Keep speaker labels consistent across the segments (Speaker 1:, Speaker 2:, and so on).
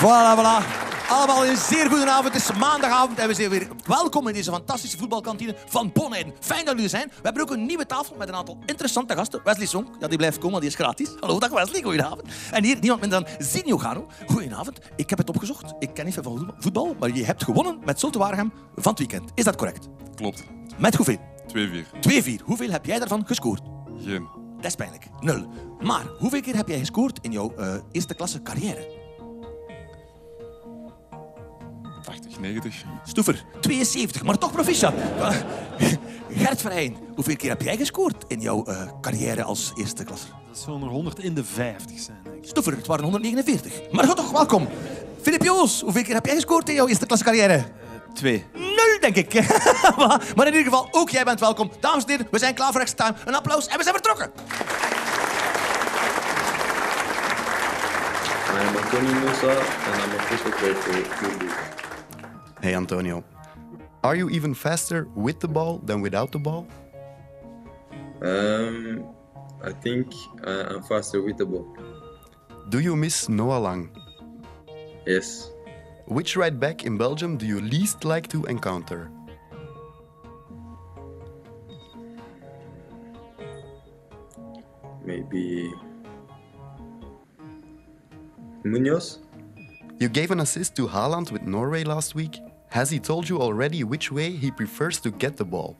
Speaker 1: Voilà, voilà. Allemaal een zeer goede avond. Het is maandagavond en we zijn weer welkom in deze fantastische voetbalkantine van Bonheiden. Fijn dat jullie er zijn. We hebben ook een nieuwe tafel met een aantal interessante gasten. Wesley Song, ja, die blijft komen, want die is gratis. Hallo, dag Wesley, goedenavond. En hier niemand minder dan Zinio Garo. Goedenavond, ik heb het opgezocht. Ik ken niet veel van voetbal, maar je hebt gewonnen met Zulte Waregem van het weekend. Is dat correct?
Speaker 2: Klopt.
Speaker 1: Met hoeveel?
Speaker 2: 2-4.
Speaker 1: 2-4. Hoeveel heb jij daarvan gescoord?
Speaker 2: Geen.
Speaker 1: Dat is pijnlijk. Nul. Maar hoeveel keer heb jij gescoord in jouw eh, eerste klasse carrière?
Speaker 2: 80, 90.
Speaker 1: Stoever, 72, maar toch proficiat. Ah, Gert Verheyen, hoeveel keer heb jij gescoord in jouw eh, carrière als eerste klasse?
Speaker 3: Dat zullen er 100 in de 50 zijn, denk ik.
Speaker 1: Stoever, het waren 149. Maar goed toch, welkom. Filip Joos, hoeveel keer heb jij gescoord in jouw eerste klasse carrière?
Speaker 3: Twee.
Speaker 1: Nul, denk ik. maar, maar in ieder geval, ook jij bent welkom. Dames en heren, we zijn klaar voor extra time. Een applaus en we zijn vertrokken.
Speaker 4: I am Antonio Musa and I'm a football player for Clube.
Speaker 5: Hey Antonio, are you even faster with the ball than without the ball?
Speaker 4: Um, I think uh, I'm faster with the ball.
Speaker 5: Do you miss Noah Lang?
Speaker 4: Yes.
Speaker 5: Which right back in Belgium do you least like to encounter?
Speaker 4: Maybe. Munoz?
Speaker 5: You gave an assist to Haaland with Norway last week. Has he told you already which way he prefers to get the ball?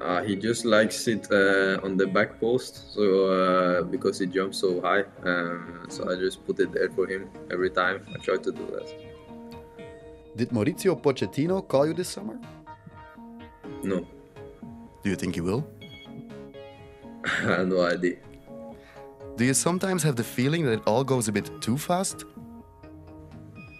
Speaker 4: Uh, he just likes it uh, on the back post, so uh, because he jumps so high. Um, so I just put it there for him every time. I try to do that.
Speaker 5: Did Maurizio Pochettino call you this summer?
Speaker 4: No,
Speaker 5: Do you think he will?
Speaker 4: I have no idea.
Speaker 5: Do you sometimes have the feeling that it all goes a bit too fast?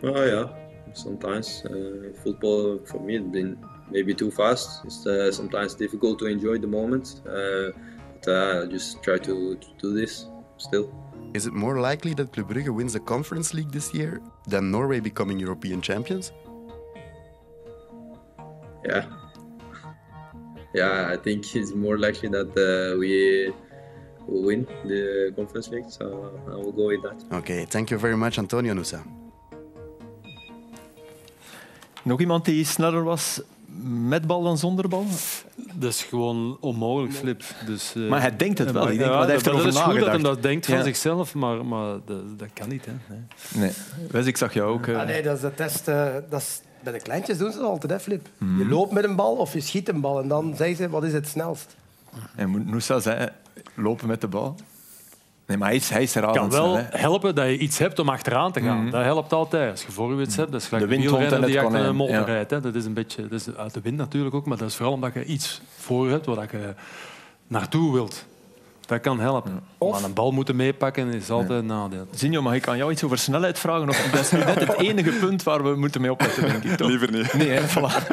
Speaker 4: Oh yeah, sometimes uh, football for me has been maybe too fast. It's uh, sometimes difficult to enjoy the moment, uh, but uh, I just try to, to do this still.
Speaker 5: Is it more likely that Club Brugge wins the Conference League this year than Norway becoming European champions?
Speaker 4: Yeah, yeah. I think it's more likely that uh, we will win the conference league, so I will go with that.
Speaker 5: Okay, thank you very much, Antonio Nusa.
Speaker 6: Nog iemand die sneller was met bal dan zonder bal?
Speaker 3: Dat is gewoon onmogelijk, Flip. Dus, eh,
Speaker 6: Maar hij denkt het
Speaker 3: en-
Speaker 6: wel. Ik denk, wat heeft
Speaker 3: dat,
Speaker 6: hij
Speaker 3: dat
Speaker 6: erover
Speaker 3: is goed dat hij
Speaker 6: nagedacht?
Speaker 3: dat denkt van
Speaker 6: Ja.
Speaker 3: zichzelf, maar, maar dat, dat kan niet. Hè. Nee.
Speaker 6: Nee. Wes, ik zag jou ook. eh,
Speaker 7: Ah, nee, dat is de test. eh, dat is, bij de kleintjes doen ze dat altijd, hè, Flip. Je loopt met een bal of je schiet een bal. En dan zeggen ze, wat is het snelst?
Speaker 6: En Mo- Moussa zei, lopen met de bal. Nee, maar hij is, hij is er al
Speaker 3: kan wel
Speaker 6: snel, hè. Mhm.
Speaker 3: helpen dat je iets hebt om achteraan te gaan. Dat helpt altijd. Als je voorwiets hebt, dat is gelijk
Speaker 6: De wind
Speaker 3: wielrenner
Speaker 6: hond en
Speaker 3: die
Speaker 6: het
Speaker 3: achter een
Speaker 6: konijn,
Speaker 3: motor
Speaker 6: ja.
Speaker 3: rijdt. Hè. Dat is een beetje dat is uit de wind natuurlijk ook, maar dat is vooral omdat je iets voor hebt waar je naartoe wilt. Dat kan helpen. Maar een bal moeten meepakken is altijd een nadeel.
Speaker 6: Zinjo, mag ik aan jou iets over snelheid vragen? Of, dat is nu net het enige punt waar we moeten mee opletten, denk ik. Toch?
Speaker 2: Liever niet.
Speaker 6: Nee, hè, voilà.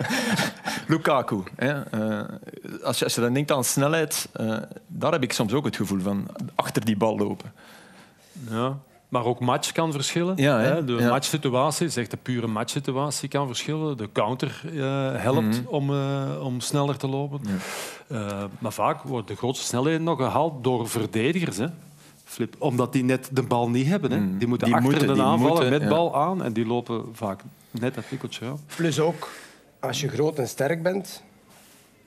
Speaker 6: Lukaku. Hè. eh, als, je, als je dan denkt aan snelheid, eh, daar heb ik soms ook het gevoel van achter die bal lopen.
Speaker 3: Ja. Maar ook match kan verschillen.
Speaker 6: Ja, hè?
Speaker 3: hè. De
Speaker 6: Ja.
Speaker 3: matchsituatie, zegt de pure matchsituatie, kan verschillen. De counter eh, helpt
Speaker 6: Mhm.
Speaker 3: om, eh, om sneller te lopen. Eh, maar vaak wordt de grootste snelheid nog gehaald door verdedigers. Hè. Flip. Omdat die net de bal niet hebben. Hè. Die moeten
Speaker 6: Mhm. Die
Speaker 3: achter
Speaker 6: moeten,
Speaker 3: de
Speaker 6: die
Speaker 3: aanvaller
Speaker 6: moeten,
Speaker 3: met
Speaker 6: ja.
Speaker 3: bal aan. En die lopen vaak net dat tikkeltje af.
Speaker 7: Plus ook, als je groot en sterk bent,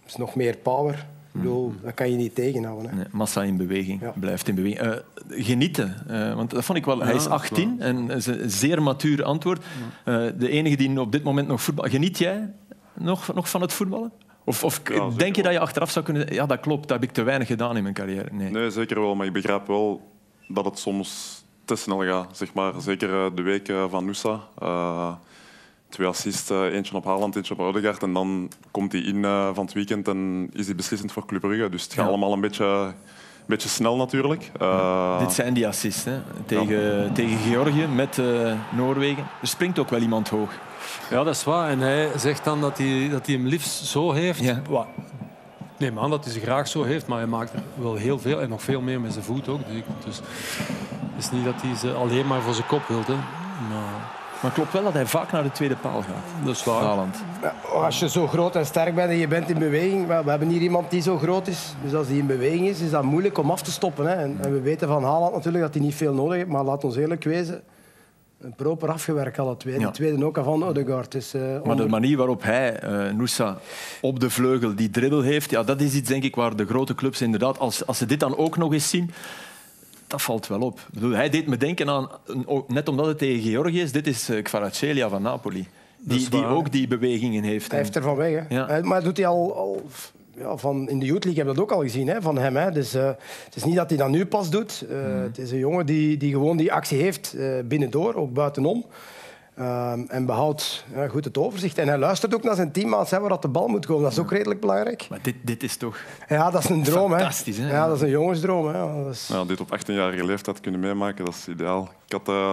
Speaker 7: is nog meer power. Ik bedoel, dat kan je niet tegenhouden. Hè.
Speaker 6: Nee, massa in beweging,
Speaker 7: Ja.
Speaker 6: blijft in beweging. Eh, genieten, eh, want dat vond ik wel. hij is
Speaker 3: dat is
Speaker 6: 18 en is een zeer matuur antwoord. Eh, de enige die op dit moment nog voetbal. Geniet jij nog, nog van het voetballen? Of, of denk je dat je achteraf zou kunnen. Ja, dat klopt, dat heb ik te weinig gedaan in mijn carrière. Nee.
Speaker 2: Nee, zeker wel. Maar ik begrijp wel dat het soms te snel gaat. Zeg maar. Zeker eh, de week eh, van Nusa. Eh, twee assists, eh, eentje op Haaland, eentje op Odegaard. En dan komt hij in eh, van het weekend en is hij beslissend voor Club Brugge. Dus het gaat
Speaker 6: Ja.
Speaker 2: allemaal een beetje, een beetje snel natuurlijk. Eh,
Speaker 6: Ah. Dit zijn die assists hè, tegen, tegen Georgië met eh, Noorwegen. Er springt ook wel iemand hoog.
Speaker 3: Ja, dat is waar. En hij zegt dan dat hij, dat hij hem liefst zo heeft.
Speaker 6: Ja.
Speaker 3: Wa- Nee, man, dat hij ze graag zo heeft, maar hij maakt er wel heel veel en nog veel meer met zijn voet ook. Dus ik- Dus het is niet dat hij ze alleen maar voor zijn kop wilt. Hè. Maar
Speaker 6: Maar het klopt wel dat hij vaak naar de tweede paal gaat.
Speaker 3: dat is waar.
Speaker 6: Haaland.
Speaker 7: Eh, Als je zo groot en sterk bent en je bent in beweging... wel, We hebben hier iemand die zo groot is. Dus als die in beweging is, is dat moeilijk om af te stoppen. Hè. En, en we weten van Haaland natuurlijk dat hij niet veel nodig heeft. Maar laat ons eerlijk wezen. proper afgewerkt alle twee.
Speaker 6: Ja.
Speaker 7: De tweede ook al van Odegaard. Dus, eh,
Speaker 6: Maar de
Speaker 7: onder-
Speaker 6: manier waarop hij, eh Nusa, op de vleugel die dribbel heeft, ja, dat is iets denk ik waar de grote clubs inderdaad, als, als ze dit dan ook nog eens zien, dat valt wel op. Ik bedoel, hij deed me denken aan, een- ook net omdat het tegen Georgië is, dit is eh Kvaratskhelia van Napoli. Die, die ook die bewegingen heeft.
Speaker 7: Hij heeft er van weg. Hè.
Speaker 6: Ja.
Speaker 7: Hij- maar doet hij al... al ja, van, in de Youth League hebben we dat ook al gezien hè, van hem. Hè. Dus, eh, het is niet dat hij dat nu pas doet. Eh,
Speaker 6: Mm-hmm.
Speaker 7: Het is een jongen die, die gewoon die actie heeft eh, binnendoor, ook buitenom. Ehm, en behoudt ja, goed het overzicht. En hij luistert ook naar zijn teammaats hè, waar dat de bal moet komen. Dat is ook redelijk belangrijk.
Speaker 6: Maar dit, dit is toch...
Speaker 7: Ja, dat is een droom.
Speaker 6: Fantastisch, hè?
Speaker 7: Ja, dat is een jongensdroom. Hè. Ja, Dat is-
Speaker 2: Ja, dit op 18-jarige leeftijd kunnen meemaken, dat is ideaal. Ik had, eh,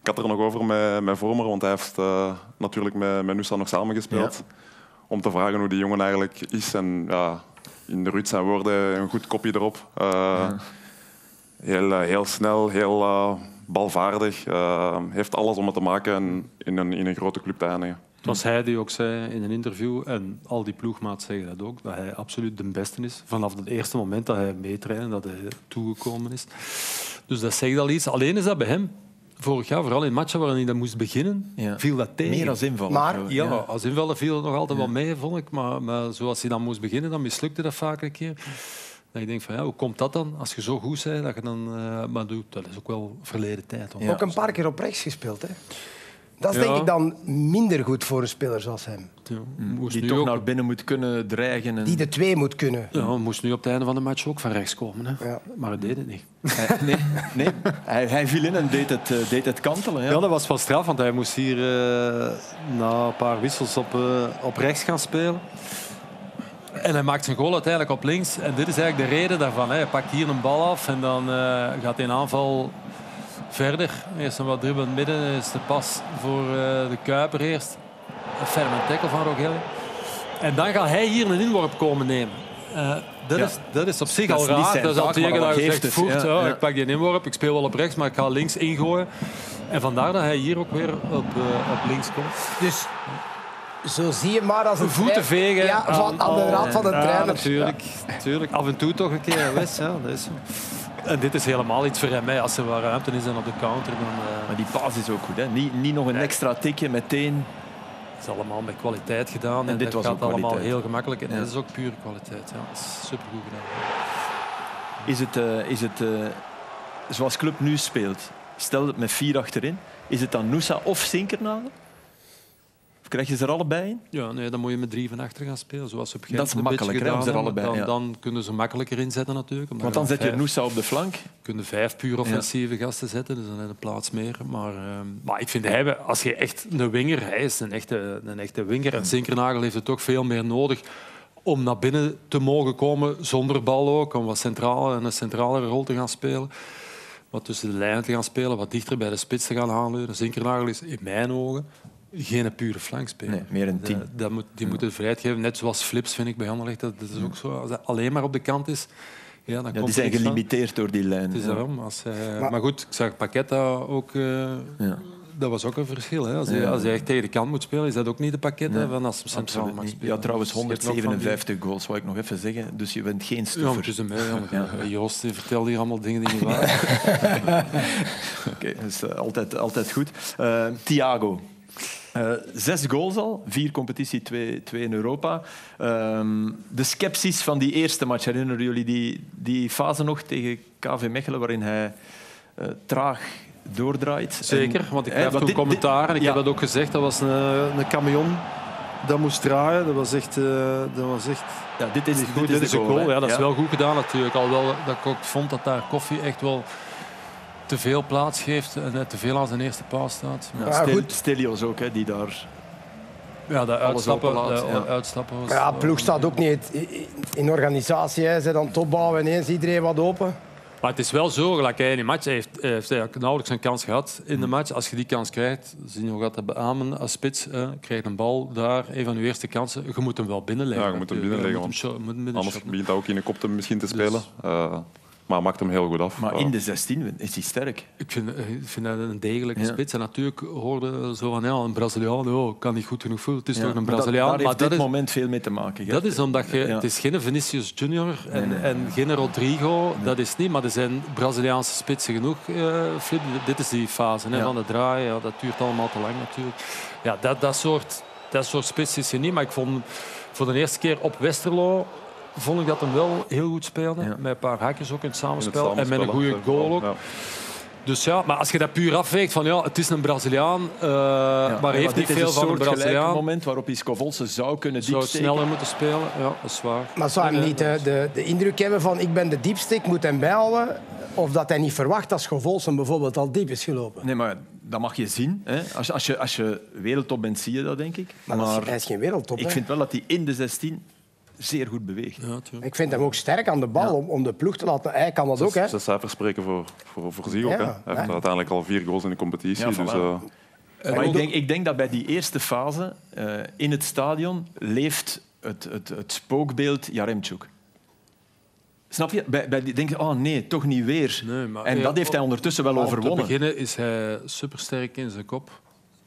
Speaker 2: ik had er nog over met mijn vormer, want hij heeft eh, natuurlijk met, met Nusa nog samengespeeld. Om te vragen hoe die jongen eigenlijk is. En ja, in de Ruud zijn woorden, een goed kopje erop. Eh, heel, eh, heel snel, heel eh, balvaardig. Eh, heeft alles om het te maken en in een, in een grote club te eindigen.
Speaker 3: Het was hij die ook zei in een interview, en al die ploegmaats zeggen dat ook, dat hij absoluut de beste is. Vanaf het eerste moment dat hij meetrainde, dat hij toegekomen is. Dus dat zegt al iets. Alleen is dat bij hem, vorig jaar, vooral in matchen waarin hij dat moest beginnen,
Speaker 6: Ja.
Speaker 3: viel dat tegen.
Speaker 6: Meer als inval.
Speaker 7: Maar-
Speaker 6: of zo,
Speaker 3: Ja, als invallen viel het nog altijd wel mee, vond ik. Maar, maar zoals hij dan moest beginnen, dan mislukte dat vaak een keer. Dat ik denk van, ja, hoe komt dat dan? Als je zo goed bent, dat je dan... eh, maar doet, dat is ook wel verleden tijd. hoor.
Speaker 7: Ook een paar keer op rechts gespeeld. Hè. Dat is
Speaker 3: Ja.
Speaker 7: denk ik dan minder goed voor een speler zoals hem.
Speaker 3: Ja, Mm, moest
Speaker 6: Die
Speaker 3: nu
Speaker 6: toch
Speaker 3: ook-
Speaker 6: naar binnen moet kunnen dreigen. En...
Speaker 7: Die de twee moet kunnen.
Speaker 3: Ja, moest nu op het einde van de match ook van rechts komen. Hè.
Speaker 7: Ja.
Speaker 3: Maar het deed het niet.
Speaker 6: Hij- nee, nee. Hij, hij viel in en deed het, eh, deed het kantelen. Ja.
Speaker 3: Ja, dat was wel straf, want hij moest hier eh, na een paar wissels op, eh, op rechts gaan spelen. En hij maakt zijn goal uiteindelijk op links. En dit is eigenlijk de reden daarvan. Hè. Hij pakt hier een bal af en dan eh, gaat hij in aanval verder. Eerst een wat dribbel in het midden. is de pas voor eh, de Kuiper eerst. Een ferme tackle van Rogelli. En dan gaat hij hier een inworp komen nemen. Eh, dat,
Speaker 6: Ja.
Speaker 3: is, dat is op zich
Speaker 6: Dat
Speaker 3: al
Speaker 6: is niet
Speaker 3: raar.
Speaker 6: zijn
Speaker 3: Dat is al
Speaker 6: taak, maar
Speaker 3: tegen dat
Speaker 6: dat
Speaker 3: je zegt,
Speaker 6: geeft het,
Speaker 3: voert,
Speaker 6: ja,
Speaker 3: ja,
Speaker 6: ja.
Speaker 3: ik pak die inworp, ik speel wel op rechts, maar ik ga links ingooien. En vandaar dat hij hier ook weer op, eh, op links komt.
Speaker 7: Dus zo zie je maar als een Oh.
Speaker 3: Een voet te
Speaker 7: trein-
Speaker 3: vegen. Oh.
Speaker 7: Ja, van, aan de raad van de
Speaker 3: ja,
Speaker 7: trainer.
Speaker 3: Natuurlijk, natuurlijk. Af en toe toch een keer wist. Ja, dat is zo. En dit is helemaal iets voor hem. Hè. Als er wat ruimte is en op de counter, dan eh,
Speaker 6: Maar die paas is ook goed. Hè. Niet, niet nog een extra tikje meteen.
Speaker 3: is het allemaal met kwaliteit gedaan. En,
Speaker 6: dit
Speaker 3: dat
Speaker 6: was
Speaker 3: gaat
Speaker 6: ook
Speaker 3: allemaal
Speaker 6: kwaliteit.
Speaker 3: heel gemakkelijk. En
Speaker 6: Ja.
Speaker 3: dit is ook pure kwaliteit. Ja. Dat is supergoed gedaan.
Speaker 6: Is het, eh, is het eh, zoals club nu speelt, stel het met vier achterin, is het dan Noosa of Sinkernagel? Of krijg je ze er allebei in?
Speaker 3: Ja, nee, dan moet je met drie van achter gaan spelen. Zoals ze op Gent
Speaker 6: Dat is
Speaker 3: een beetje
Speaker 6: makkelijker, hè, om ze er
Speaker 3: gedaan hebben.
Speaker 6: allebei,
Speaker 3: Dan, dan kunnen ze makkelijker inzetten natuurlijk. omdat
Speaker 6: Want dan
Speaker 3: je
Speaker 6: zet je
Speaker 3: vijf-
Speaker 6: Noosa op de flank.
Speaker 3: kunnen vijf puur offensieve gasten zetten, dus dan heb je plaats meer. Maar, ehm, maar ik vind hij, als je echt een winger, hij is een echte, een echte winger. En Zinkernagel heeft het ook veel meer nodig om naar binnen te mogen komen, zonder bal ook, om wat centraal en een centrale rol te gaan spelen. Wat tussen de lijnen te gaan spelen, wat dichter bij de spits te gaan aanleunen. Zinkernagel is in mijn ogen geen pure flankspeler.
Speaker 6: Nee, meer een tien.
Speaker 3: Eh, dat moet, die moeten de vrijheid geven. Net zoals Flips, vind ik, bij Anderlecht. Dat, dat is ook zo. Als hij alleen maar op de kant is, ja, dan
Speaker 6: Ja,
Speaker 3: komt
Speaker 6: die
Speaker 3: er
Speaker 6: zijn
Speaker 3: niks van.
Speaker 6: gelimiteerd door die lijn.
Speaker 3: Het is
Speaker 6: Ja.
Speaker 3: daarom. Als, hij-
Speaker 7: Maar-
Speaker 3: maar, goed, ik zag Paqueta ook... eh,
Speaker 6: Ja.
Speaker 3: Dat was ook een verschil. Hè. Als, hij,
Speaker 6: Ja.
Speaker 3: als hij echt tegen de kant moet spelen, is dat ook niet de Paqueta
Speaker 6: Nee,
Speaker 3: van als hij centraal
Speaker 6: Absoluut
Speaker 3: mag
Speaker 6: niet.
Speaker 3: spelen.
Speaker 6: Ja, trouwens
Speaker 3: Dus je hebt nog van die-
Speaker 6: 157 goals, wou ik nog even zeggen. Dus je bent geen
Speaker 3: Ja, maar
Speaker 6: stoever.
Speaker 3: tussen mij. ja, maar Joost die vertelde hier allemaal dingen die niet waar zijn.
Speaker 6: Oké, dat is eh, altijd, altijd goed. Eh, Thiago. Eh, zes goals al, vier competitie, twee, twee in Europa. Ehm, de scepties van die eerste match, herinneren jullie die, die fase nog tegen KV Mechelen, waarin hij eh, traag doordraait?
Speaker 3: Zeker,
Speaker 6: En-
Speaker 3: want ik
Speaker 6: hè,
Speaker 3: kreeg toen
Speaker 6: want dit- dit-
Speaker 3: commentaar en ik
Speaker 6: ja.
Speaker 3: heb dat ook gezegd. Dat was een, een camion dat moest draaien. Dat was echt... eh, dat was echt
Speaker 6: Ja, dit is,
Speaker 3: Goed, dit is
Speaker 6: de
Speaker 3: een goal.
Speaker 6: hè.
Speaker 3: Ja, dat is
Speaker 6: Ja.
Speaker 3: wel goed gedaan natuurlijk. Alhoewel dat ik ook vond dat daar Koffie echt wel te veel plaats geeft en eh, te veel aan zijn eerste paal staat.
Speaker 6: Ja,
Speaker 7: Ah,
Speaker 6: Stel-
Speaker 7: goed.
Speaker 6: Stelios ook, hè, die daar...
Speaker 3: Ja, dat uitstappen,
Speaker 6: openlaat,
Speaker 3: dat
Speaker 6: ja.
Speaker 3: uitstappen was...
Speaker 6: eh,
Speaker 7: Ja, ploeg staat ook niet in organisatie. Hè. Ze dan topbouwen ineens iedereen wat open.
Speaker 3: Maar het is wel zo, gelijk hij in die match hij heeft, hij heeft eigenlijk nauwelijks een kans gehad in de
Speaker 6: Mm.
Speaker 3: match. Als je die kans krijgt, zien we hoe gaat dat beamen als spits. eh, krijg je een bal daar, een van je eerste kansen. Je moet hem wel binnenleggen.
Speaker 2: Ja, je moet hem
Speaker 3: natuurlijk.
Speaker 2: binnenleggen,
Speaker 3: Je moet hem shot- moet hem binnen
Speaker 2: Anders
Speaker 3: shotten.
Speaker 2: begint dat ook in de kop te, misschien te spelen. Eh, Maar hij maakt hem heel goed af.
Speaker 6: Maar
Speaker 2: Eh,
Speaker 6: in de 16 is hij sterk.
Speaker 3: Ik vind, eh, ik vind dat een degelijke
Speaker 6: Ja.
Speaker 3: spits. En natuurlijk hoorde zo van ja, een Braziliaan oh, kan niet goed genoeg voelen. Het is
Speaker 6: Ja.
Speaker 3: toch een
Speaker 6: Maar dat-
Speaker 3: Braziliaan.
Speaker 6: Daar heeft
Speaker 3: maar dat
Speaker 6: dit
Speaker 3: is,
Speaker 6: moment veel mee te maken. hè.
Speaker 3: dat is omdat je,
Speaker 6: Ja.
Speaker 3: het is geen Vinicius Junior en, en geen Rodrigo. Dat is niet, maar er zijn Braziliaanse spitsen genoeg. eh, Flip, dit is die fase hè,
Speaker 6: Ja.
Speaker 3: van de draai. Ja, dat duurt allemaal te lang natuurlijk. Ja, dat, dat soort, dat soort spits is je niet. Maar ik vond voor de eerste keer op Westerlo vond ik dat hem wel heel goed speelde.
Speaker 6: Ja.
Speaker 3: Met een paar hakjes ook in het
Speaker 2: in het
Speaker 3: samenspel.
Speaker 2: samenspel,
Speaker 3: en met een goede
Speaker 2: eh,
Speaker 3: goal ook.
Speaker 2: ja.
Speaker 3: Dus ja, maar als je dat puur afweegt van ja, het is een Braziliaan, eh, maar hij heeft niet
Speaker 6: dit
Speaker 3: veel
Speaker 6: is
Speaker 3: van een
Speaker 6: soortgelijk
Speaker 3: Braziliaan.
Speaker 6: moment waarop hij Scovolse zou kunnen
Speaker 3: Zou
Speaker 6: diepsteken.
Speaker 3: sneller moeten spelen, ja, dat is waar.
Speaker 7: Maar zou hem
Speaker 3: Nee,
Speaker 7: niet
Speaker 3: nee,
Speaker 7: hè, de, de indruk hebben van ik ben de diepste, ik moet hem bijhouden? Of dat hij niet verwacht dat Schovolsen bijvoorbeeld al diep is gelopen?
Speaker 6: Nee, maar dat mag je zien. Hè. Als, je- als, je, als je wereldtop bent, zie je dat, denk ik.
Speaker 7: Maar,
Speaker 6: Maar,
Speaker 7: dat is- hij is geen wereldtop.
Speaker 6: ik
Speaker 7: hè.
Speaker 6: vind wel dat hij in de 16 zeer goed beweegt.
Speaker 3: Ja, tuurlijk.
Speaker 7: ik vind hem ook sterk aan de bal om, om de ploeg te laten. Hij kan dat ook, hè?
Speaker 2: Zes, zes cijfers spreken voor, voor, voor zich ook.
Speaker 7: Ja,
Speaker 2: hè. Hij heeft
Speaker 7: ja.
Speaker 2: uiteindelijk al vier goals in de competitie.
Speaker 6: Ja,
Speaker 2: dus,
Speaker 6: voilà.
Speaker 2: eh,
Speaker 6: Maar ik
Speaker 3: ook-
Speaker 6: denk, ik denk dat bij die eerste fase eh, in het stadion leeft het, het, het spookbeeld Jaremchuk. Snap je? Bij, bij die denk je, oh nee, toch niet weer.
Speaker 3: Nee, maar-
Speaker 6: en dat heeft hij ondertussen wel
Speaker 3: Om
Speaker 6: overwonnen.
Speaker 3: Te beginnen is hij supersterk in zijn kop.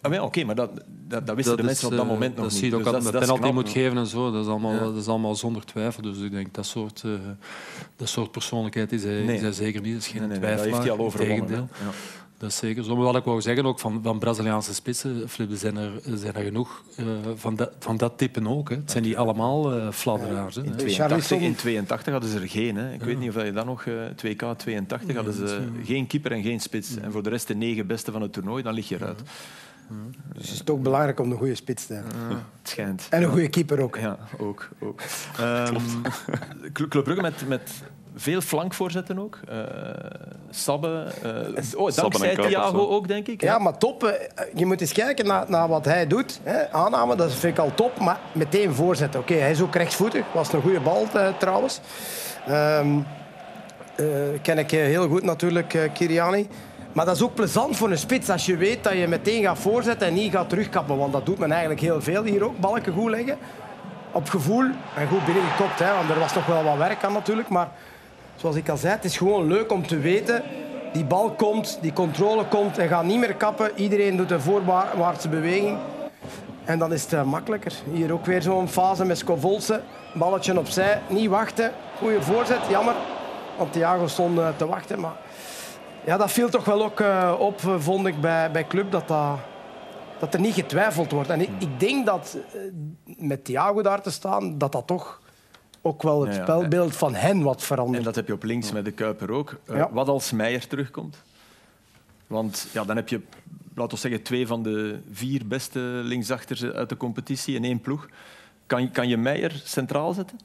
Speaker 6: Ah, wel, Oké, maar dat, dat, dat wisten de
Speaker 3: is,
Speaker 6: mensen op dat
Speaker 3: eh,
Speaker 6: moment nog
Speaker 3: dat
Speaker 6: niet.
Speaker 3: zie je ook
Speaker 6: Dus
Speaker 3: al dat,
Speaker 6: is-
Speaker 3: dat
Speaker 6: is
Speaker 3: penalty
Speaker 6: knap,
Speaker 3: moet
Speaker 6: hè.
Speaker 3: geven en zo, dat is, allemaal,
Speaker 6: Ja.
Speaker 3: dat is allemaal zonder twijfel. Dus ik denk dat soort, eh, dat soort persoonlijkheid is hij,
Speaker 6: Nee.
Speaker 3: is hij zeker niet. Dat is geen
Speaker 6: Nee, nee, nee,
Speaker 3: twijfel.
Speaker 6: dat heeft hij al overwonnen. hè.
Speaker 3: Tegendeel.
Speaker 6: Ja.
Speaker 3: Dat is zeker zo. Maar wat ik wou zeggen ook van, van Braziliaanse spitsen, Flip, er zijn er, er zijn er genoeg eh, van, dat, van dat type ook. Hè. Het zijn niet allemaal eh fladderaars. Hè.
Speaker 6: In
Speaker 7: Charlison-
Speaker 6: 82, in 82 hadden ze er geen. Hè. Ik weet niet of je dan nog... eh, 2K 82 hadden ze geen keeper en geen spits. En voor de rest de negen beste van het toernooi, dan lig je eruit.
Speaker 7: Dus het is toch belangrijk om een goede spits te hebben.
Speaker 6: Het schijnt.
Speaker 7: En een goede keeper ook.
Speaker 6: Ja, ook. ook. Ehm, Cl- Club Brugge met, met veel flankvoorzetten ook. Eh, Sabbe. eh oh,
Speaker 2: Sabbe en
Speaker 6: dankzij
Speaker 2: Kuipers,
Speaker 6: Thiago
Speaker 2: hè.
Speaker 6: ook, denk ik. hè.
Speaker 7: Ja, maar top. eh, Je moet eens kijken naar, naar wat hij doet. Hè. Aanname, dat vind ik al top. Maar meteen voorzetten. Oké, hij is ook rechtsvoetig. Was een goede bal eh, trouwens. Ehm, eh, ken ik eh, heel goed natuurlijk, eh, Kiriani. Maar dat is ook plezant voor een spits als je weet dat je meteen gaat voorzetten en niet gaat terugkappen. Want dat doet men eigenlijk heel veel hier ook. Balken goed leggen. Op gevoel en goed binnengekopt. Hè, want er was toch wel wat werk aan natuurlijk. Maar zoals ik al zei, het is gewoon leuk om te weten. Die bal komt, die controle komt en gaat niet meer kappen. Iedereen doet een voorwaartse beweging. En dan is het eh, makkelijker. Hier ook weer zo'n fase met Scovolse. Balletje opzij, niet wachten. Goeie voorzet, jammer. Want Thiago stond eh, te wachten. Maar ja, dat viel toch wel ook eh, op, eh, vond ik, bij, bij Club. Dat, dat, dat er niet getwijfeld wordt. En ik,
Speaker 6: Hmm.
Speaker 7: ik denk dat eh, met Thiago daar te staan, dat dat toch ook wel het
Speaker 6: Ja, ja.
Speaker 7: spelbeeld van hen wat verandert.
Speaker 6: En dat heb je op links met de Kuiper ook. Eh,
Speaker 7: Ja.
Speaker 6: Wat als Meijer terugkomt? Want ja, dan heb je, laten we zeggen, twee van de vier beste linksachters uit de competitie in één ploeg. Kan, je- kan je Meijer centraal zetten?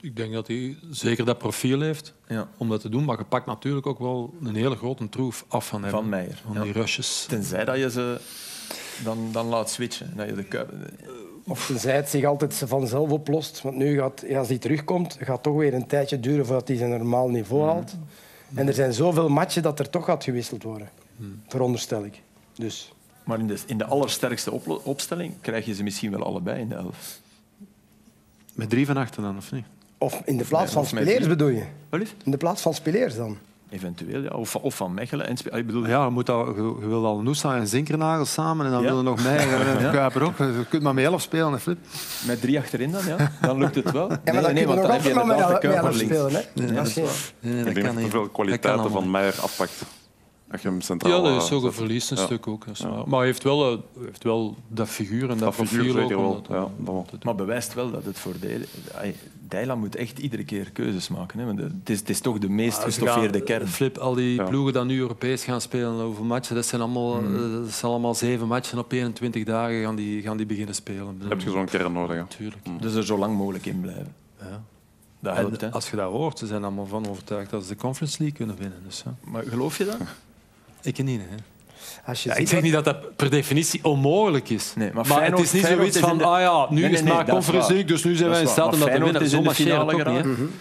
Speaker 3: Ik denk dat hij zeker dat profiel heeft
Speaker 6: Ja.
Speaker 3: om dat te doen. Maar je pakt natuurlijk ook wel een hele grote troef af van hem.
Speaker 6: Van Meijer,
Speaker 3: Van
Speaker 6: ja.
Speaker 3: die rushes.
Speaker 6: Tenzij dat je ze dan, dan laat switchen. Dat je de Kuiper...
Speaker 7: Of tenzij het zich altijd vanzelf oplost. Want nu gaat, als hij terugkomt, gaat het toch weer een tijdje duren voordat hij zijn normaal niveau haalt. En er zijn zoveel matchen dat er toch gaat gewisseld worden. Veronderstel ik. Dus
Speaker 6: Maar in de, in de allersterkste oplo- opstelling krijg je ze misschien wel allebei in de elf.
Speaker 3: Met drie van achter dan, of niet?
Speaker 7: of in de plaats
Speaker 6: Nee,
Speaker 7: van
Speaker 6: of met
Speaker 7: Spileers
Speaker 6: drie.
Speaker 7: bedoel je?
Speaker 6: Wel lief?
Speaker 7: In de plaats van Spileers dan?
Speaker 6: Eventueel, ja. Of, of van Mechelen. En Spe- ik bedoel,
Speaker 8: Ja, je, moet al, je, je wil al Noosa en Zinkernagel samen en dan
Speaker 6: Ja.
Speaker 8: willen nog mij en
Speaker 6: Ja.
Speaker 8: Kuiper ook. Je kunt maar met elf spelen, hè, Flip.
Speaker 6: met drie achterin dan, ja. Dan lukt het wel.
Speaker 7: Ja, maar dan kun je nog altijd maar met
Speaker 6: inderdaad
Speaker 7: elf-
Speaker 6: de
Speaker 7: met
Speaker 6: Kuiper
Speaker 7: elf
Speaker 6: links.
Speaker 7: spelen. Hè? dat is geen-
Speaker 2: ik denk dat er veel kwaliteiten van Meijer afpakt. Als je hem
Speaker 3: Ja,
Speaker 2: centraal
Speaker 3: dat is
Speaker 2: eh,
Speaker 3: ook een
Speaker 2: zet.
Speaker 3: verlies, een
Speaker 2: Ja.
Speaker 3: stuk ook. dat is waar. Maar hij heeft wel, eh, hij heeft wel dat figuur en dat,
Speaker 2: Dat
Speaker 3: profiel
Speaker 2: figuur
Speaker 3: ook.
Speaker 2: zeker
Speaker 3: om
Speaker 2: wel.
Speaker 3: dat te
Speaker 2: Ja,
Speaker 3: doen.
Speaker 2: dat wel.
Speaker 6: Maar bewijst wel dat het voordeel... Ay, Dijla moet echt iedere keer keuzes maken. Hè. Want de- het, is, het is toch de meest
Speaker 3: Als je
Speaker 6: gestoffeerde
Speaker 3: gaat-
Speaker 6: kern.
Speaker 3: Flip, al die
Speaker 2: Ja. Mm.
Speaker 3: ploegen die nu Europees gaan spelen over matchen, dat zijn allemaal, eh, dat zijn allemaal zeven matchen op 21 dagen gaan die, gaan die beginnen spelen.
Speaker 2: heb je zo'n kern nodig. hè.
Speaker 3: Natuurlijk.
Speaker 6: Dus er zo lang mogelijk in blijven. Dat helpt, hè.
Speaker 3: En als je dat hoort, ze zijn allemaal van overtuigd dat ze de Conference League kunnen winnen. Dus, ja.
Speaker 6: Maar geloof je dat?
Speaker 3: Ik niet, hè.
Speaker 7: Als je
Speaker 3: Ja, ik
Speaker 7: ziet
Speaker 3: zeg
Speaker 7: wat-
Speaker 3: niet dat dat per definitie onmogelijk is.
Speaker 6: Nee, maar
Speaker 3: maar
Speaker 6: Feyenoord-
Speaker 3: het is niet
Speaker 6: Feyenoord
Speaker 3: zoiets
Speaker 6: is
Speaker 3: van,
Speaker 6: in de-
Speaker 3: ah ja, nu
Speaker 6: Nee, nee,
Speaker 3: is het
Speaker 6: nee,
Speaker 3: maar
Speaker 6: dat is
Speaker 3: Conference
Speaker 6: waar.
Speaker 3: League, dus nu zijn wij in
Speaker 6: Dat is
Speaker 3: staat om
Speaker 6: waar.
Speaker 3: dat te
Speaker 6: Maar
Speaker 3: winnen. Zo
Speaker 6: Feyenoord is in de
Speaker 3: marcheert het ook
Speaker 6: finale
Speaker 3: niet, hè. Mm-hmm.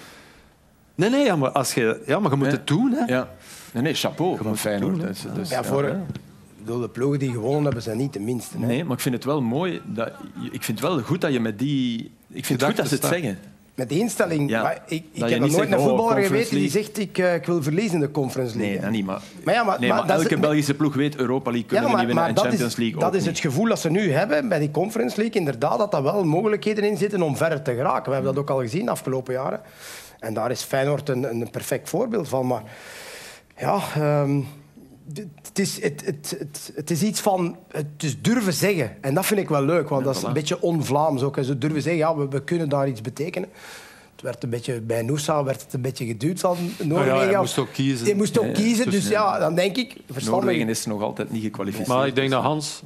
Speaker 3: Nee, nee, ja, maar, als je, ja, maar je moet
Speaker 6: Ja.
Speaker 3: het doen, hè.
Speaker 6: Ja. Nee, nee, chapeau. Maar Feyenoord.
Speaker 3: doen, hè.
Speaker 6: dus, dus,
Speaker 7: Ja, voor,
Speaker 6: hè.
Speaker 7: ik bedoel, de ploegen die gewonnen hebben, zijn niet de minste. Hè?
Speaker 6: Nee, maar ik vind het wel mooi. Dat, ik vind het wel goed dat je met die. Ik vind het goed dat ze het
Speaker 3: Gedachten
Speaker 6: zeggen.
Speaker 7: Met die instelling.
Speaker 6: Ja.
Speaker 7: Maar ik ik
Speaker 6: Dat je
Speaker 7: heb nog
Speaker 6: niet
Speaker 7: nooit
Speaker 6: zegt,
Speaker 7: een
Speaker 6: oh,
Speaker 7: voetballer
Speaker 6: Conference
Speaker 7: geweten die zegt ik, eh, ik wil verliezen in de Conference League.
Speaker 6: Nee, dat niet. Maar,
Speaker 7: Maar ja, maar-
Speaker 6: nee,
Speaker 7: maar dat is
Speaker 6: elke
Speaker 7: het-
Speaker 6: Belgische ploeg weet Europa League kunnen we niet winnen en
Speaker 7: dat
Speaker 6: Champions
Speaker 7: is,
Speaker 6: League
Speaker 7: dat
Speaker 6: ook
Speaker 7: is
Speaker 6: niet.
Speaker 7: het gevoel dat ze nu hebben bij die Conference League. Inderdaad, dat daar wel mogelijkheden in zitten om verder te geraken. We hebben dat ook al gezien de afgelopen jaren. En daar is Feyenoord een, een perfect voorbeeld van. Maar ja, ehm, dit- het, is, het, het, het, het is iets van het is durven zeggen. En dat vind ik wel leuk, want dat is een beetje on-Vlaams ook. hè. Ze durven zeggen, ja, we, we kunnen daar iets betekenen. Het werd een beetje, bij Noosa werd het een beetje geduwd van Noorwegen.
Speaker 3: Oh hij moest ook kiezen.
Speaker 7: Je moest ook kiezen, dus
Speaker 6: tussen-
Speaker 7: ja, dan denk ik... verstandig-
Speaker 6: Noorwegen is nog altijd niet gekwalificeerd.
Speaker 3: Maar ik denk dat Hans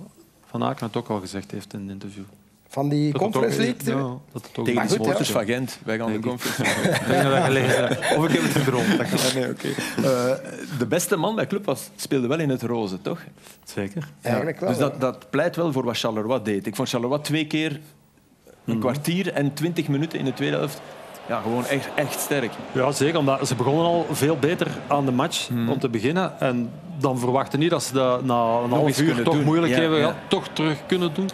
Speaker 3: van Aken het ook al gezegd heeft in een interview.
Speaker 7: Van die
Speaker 3: Dat het
Speaker 7: Conference
Speaker 3: ook-
Speaker 7: League?
Speaker 3: Ja, dat het ook
Speaker 6: Tegen de
Speaker 7: goed, ja.
Speaker 6: supporters van Gent. Wij gaan de conference.
Speaker 3: Ik denk dat dat gelezen hebt. Of ik heb het gedroomd. Dat kan.
Speaker 6: nee, oké. Eh, de beste man bij Club was, speelde wel in het roze, toch?
Speaker 3: Zeker.
Speaker 7: Eigenlijk wel.
Speaker 6: Dus dat, dat pleit wel voor wat Charleroi deed. Ik vond Charleroi twee keer een kwartier en twintig minuten in de tweede helft ja, gewoon echt, echt sterk.
Speaker 3: Ja, zeker. Omdat ze begonnen al veel beter aan de match om te beginnen. En dan verwachten niet dat ze dat na een half
Speaker 6: eens
Speaker 3: uur
Speaker 6: kunnen
Speaker 3: toch
Speaker 6: doen.
Speaker 3: moeilijk
Speaker 6: Ja,
Speaker 3: hebben
Speaker 6: ja.
Speaker 3: gehad, toch terug kunnen doen.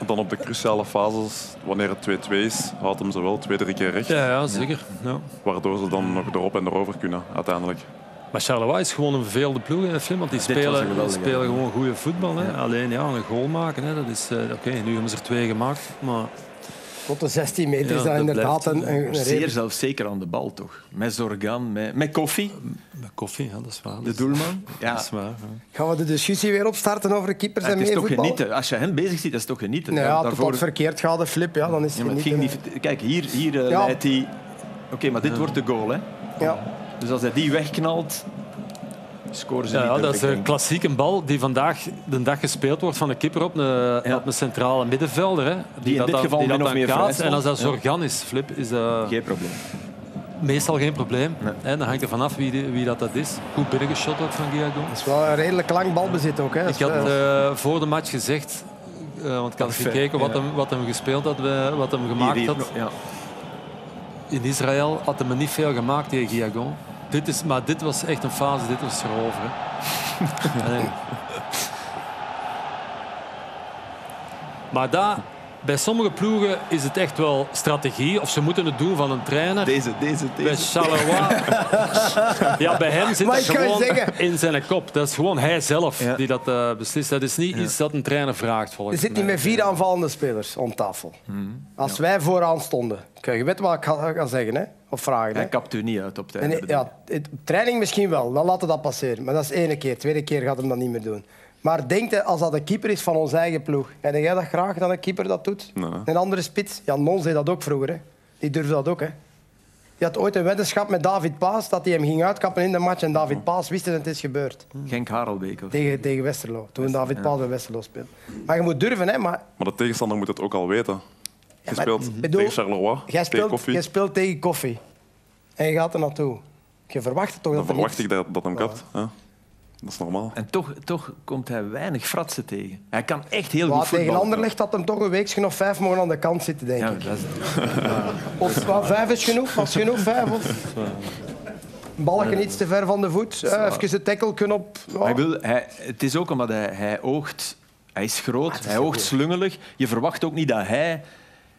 Speaker 2: En dan op de cruciale fases, wanneer het 2-2 is, houdt hem ze wel twee, drie keer recht.
Speaker 3: Ja, ja zeker. Ja.
Speaker 2: Waardoor ze dan nog erop en erover kunnen, uiteindelijk.
Speaker 3: Maar Charleroi is gewoon een verveelde ploeg, hè, Flim, want die
Speaker 6: was een
Speaker 3: spelen,
Speaker 6: geweldige,
Speaker 3: spelen gewoon goede voetbal. Hè. Alleen ja, een goal maken, hè, dat is... eh, Oké, nu hebben ze er twee gemaakt, maar...
Speaker 7: Tot de 16 meter
Speaker 6: Ja,
Speaker 7: is dat,
Speaker 6: dat
Speaker 7: inderdaad
Speaker 6: blijft,
Speaker 7: een, een, een
Speaker 6: Zeer
Speaker 7: reden.
Speaker 6: zelfzeker aan de bal, toch? Met Zorgan, met, met Koffie,
Speaker 3: Met koffie, ja, dat is waar.
Speaker 6: de doelman.
Speaker 3: Ja.
Speaker 6: Ja,
Speaker 3: Dat is waar. ja.
Speaker 7: Gaan we de discussie weer opstarten over keepers en
Speaker 6: het is
Speaker 7: meer
Speaker 6: toch
Speaker 7: voetbal?
Speaker 6: genieten. Als je hem bezig ziet, dat is toch genieten.
Speaker 7: Nou ja,
Speaker 6: Ja,
Speaker 7: tot dat verkeerd gaat, de flip, ja, dan is
Speaker 6: Ja,
Speaker 7: het
Speaker 6: maar het
Speaker 7: niet.
Speaker 6: ging niet... Kijk, hier, hier eh,
Speaker 7: Ja.
Speaker 6: leidt hij... Oké, maar dit wordt de goal, hè?
Speaker 7: Ja.
Speaker 6: Dus als hij die wegknalt, scoren ze
Speaker 3: Ja,
Speaker 6: niet.
Speaker 3: ja,
Speaker 6: door,
Speaker 3: dat
Speaker 6: ik
Speaker 3: is eh, een
Speaker 6: denk.
Speaker 3: klassieke bal die vandaag de dag gespeeld wordt van de kipper op een, op een centrale middenvelder. Hè. Die,
Speaker 6: in dit geval
Speaker 3: die
Speaker 6: min
Speaker 3: dat
Speaker 6: of
Speaker 3: dan
Speaker 6: meer
Speaker 3: kaatst.
Speaker 6: vrijstaat.
Speaker 3: En als dat
Speaker 6: Ja.
Speaker 3: Zorgan is, Flip, is dat
Speaker 6: Geen probleem.
Speaker 3: meestal geen probleem. Hè, dan hangt er vanaf wie, die- wie dat, dat is. Goed binnengeschot ook van Guillaume.
Speaker 7: Dat is wel een redelijk lang balbezit ook. Hè.
Speaker 3: Ik had eh, voor de match gezegd, eh, want ik had
Speaker 6: Parfait,
Speaker 3: gekeken wat
Speaker 6: ja.
Speaker 3: hem, wat hem gespeeld had, eh, wat hem
Speaker 6: Hier,
Speaker 3: gemaakt
Speaker 6: hier,
Speaker 3: had.
Speaker 6: ja.
Speaker 3: In Israël had hij me niet veel gemaakt tegen Guillaume. Dit is, maar dit was echt een fase, dit was erover. hè. Allee. maar daar, bij sommige ploegen is het echt wel strategie. Of ze moeten het doen van een trainer.
Speaker 6: Deze, deze,
Speaker 3: Bij
Speaker 6: deze.
Speaker 3: Charleroi. ja, bij hem zit
Speaker 7: Maar
Speaker 3: het
Speaker 7: ik kan je
Speaker 3: gewoon
Speaker 7: zeggen-
Speaker 3: in zijn kop. Dat is gewoon hij zelf
Speaker 6: Ja.
Speaker 3: die dat eh, beslist. Dat is niet iets dat een trainer vraagt,
Speaker 7: Er
Speaker 3: volgens
Speaker 7: zit niet
Speaker 3: mij.
Speaker 7: met vier aanvallende spelers om tafel.
Speaker 6: Hmm.
Speaker 7: Als wij vooraan stonden, kun je weten wat ik ga, ga zeggen hè? of vragen. Hè?
Speaker 6: Hij kapt u niet uit op tijd.
Speaker 7: En, eh, ja, het- training misschien wel, dan laten we dat passeren. Maar dat is ene keer. Tweede keer gaat hem dat niet meer doen. Maar denk je, als dat een keeper is van onze eigen ploeg, en jij dat graag dat een keeper dat doet?
Speaker 2: Nee.
Speaker 7: Een andere spits, Jan Mons deed dat ook vroeger. Hè. Die durfde dat ook. Hè. Die had ooit een weddenschap met David Paas dat hij hem ging uitkappen in de match. En David Paas wist dat het is gebeurd
Speaker 6: Genk Harelbeek. Of...
Speaker 7: tegen, tegen Westerlo. Toen David Paas bij Westerlo speelde. Maar je moet durven, hè? Maar
Speaker 2: Maar de tegenstander moet het ook al weten. Je
Speaker 7: maar-
Speaker 2: speelt
Speaker 7: Mhm. bedoel,
Speaker 2: tegen Charleroi,
Speaker 7: jij
Speaker 2: tegen
Speaker 7: speelt,
Speaker 2: Koffie.
Speaker 7: jij speelt tegen koffie. En je gaat er naartoe. Je verwacht toch
Speaker 2: Dan
Speaker 7: dat er
Speaker 2: verwacht
Speaker 7: niks-
Speaker 2: ik dat, dat hem kapt. hè. Dat is normaal.
Speaker 6: En toch, toch komt hij weinig fratsen tegen. Hij kan echt heel
Speaker 7: Maar
Speaker 6: goed
Speaker 7: tegen
Speaker 6: voetballen.
Speaker 7: Anderlecht had hem toch een weekje of vijf mogen aan de kant zitten, denk
Speaker 6: Ja,
Speaker 7: ik.
Speaker 6: dat is-
Speaker 7: Of wat, vijf is genoeg, was genoeg vijf. Of... Balken iets te ver van de voet. eh, even de tackle kunnen op. Oh. ja.
Speaker 6: Maar ik bedoel, hij, het is ook omdat hij, hij oogt... Hij is
Speaker 7: Ah,
Speaker 6: groot, hij oogt slungelig. Je verwacht ook niet dat hij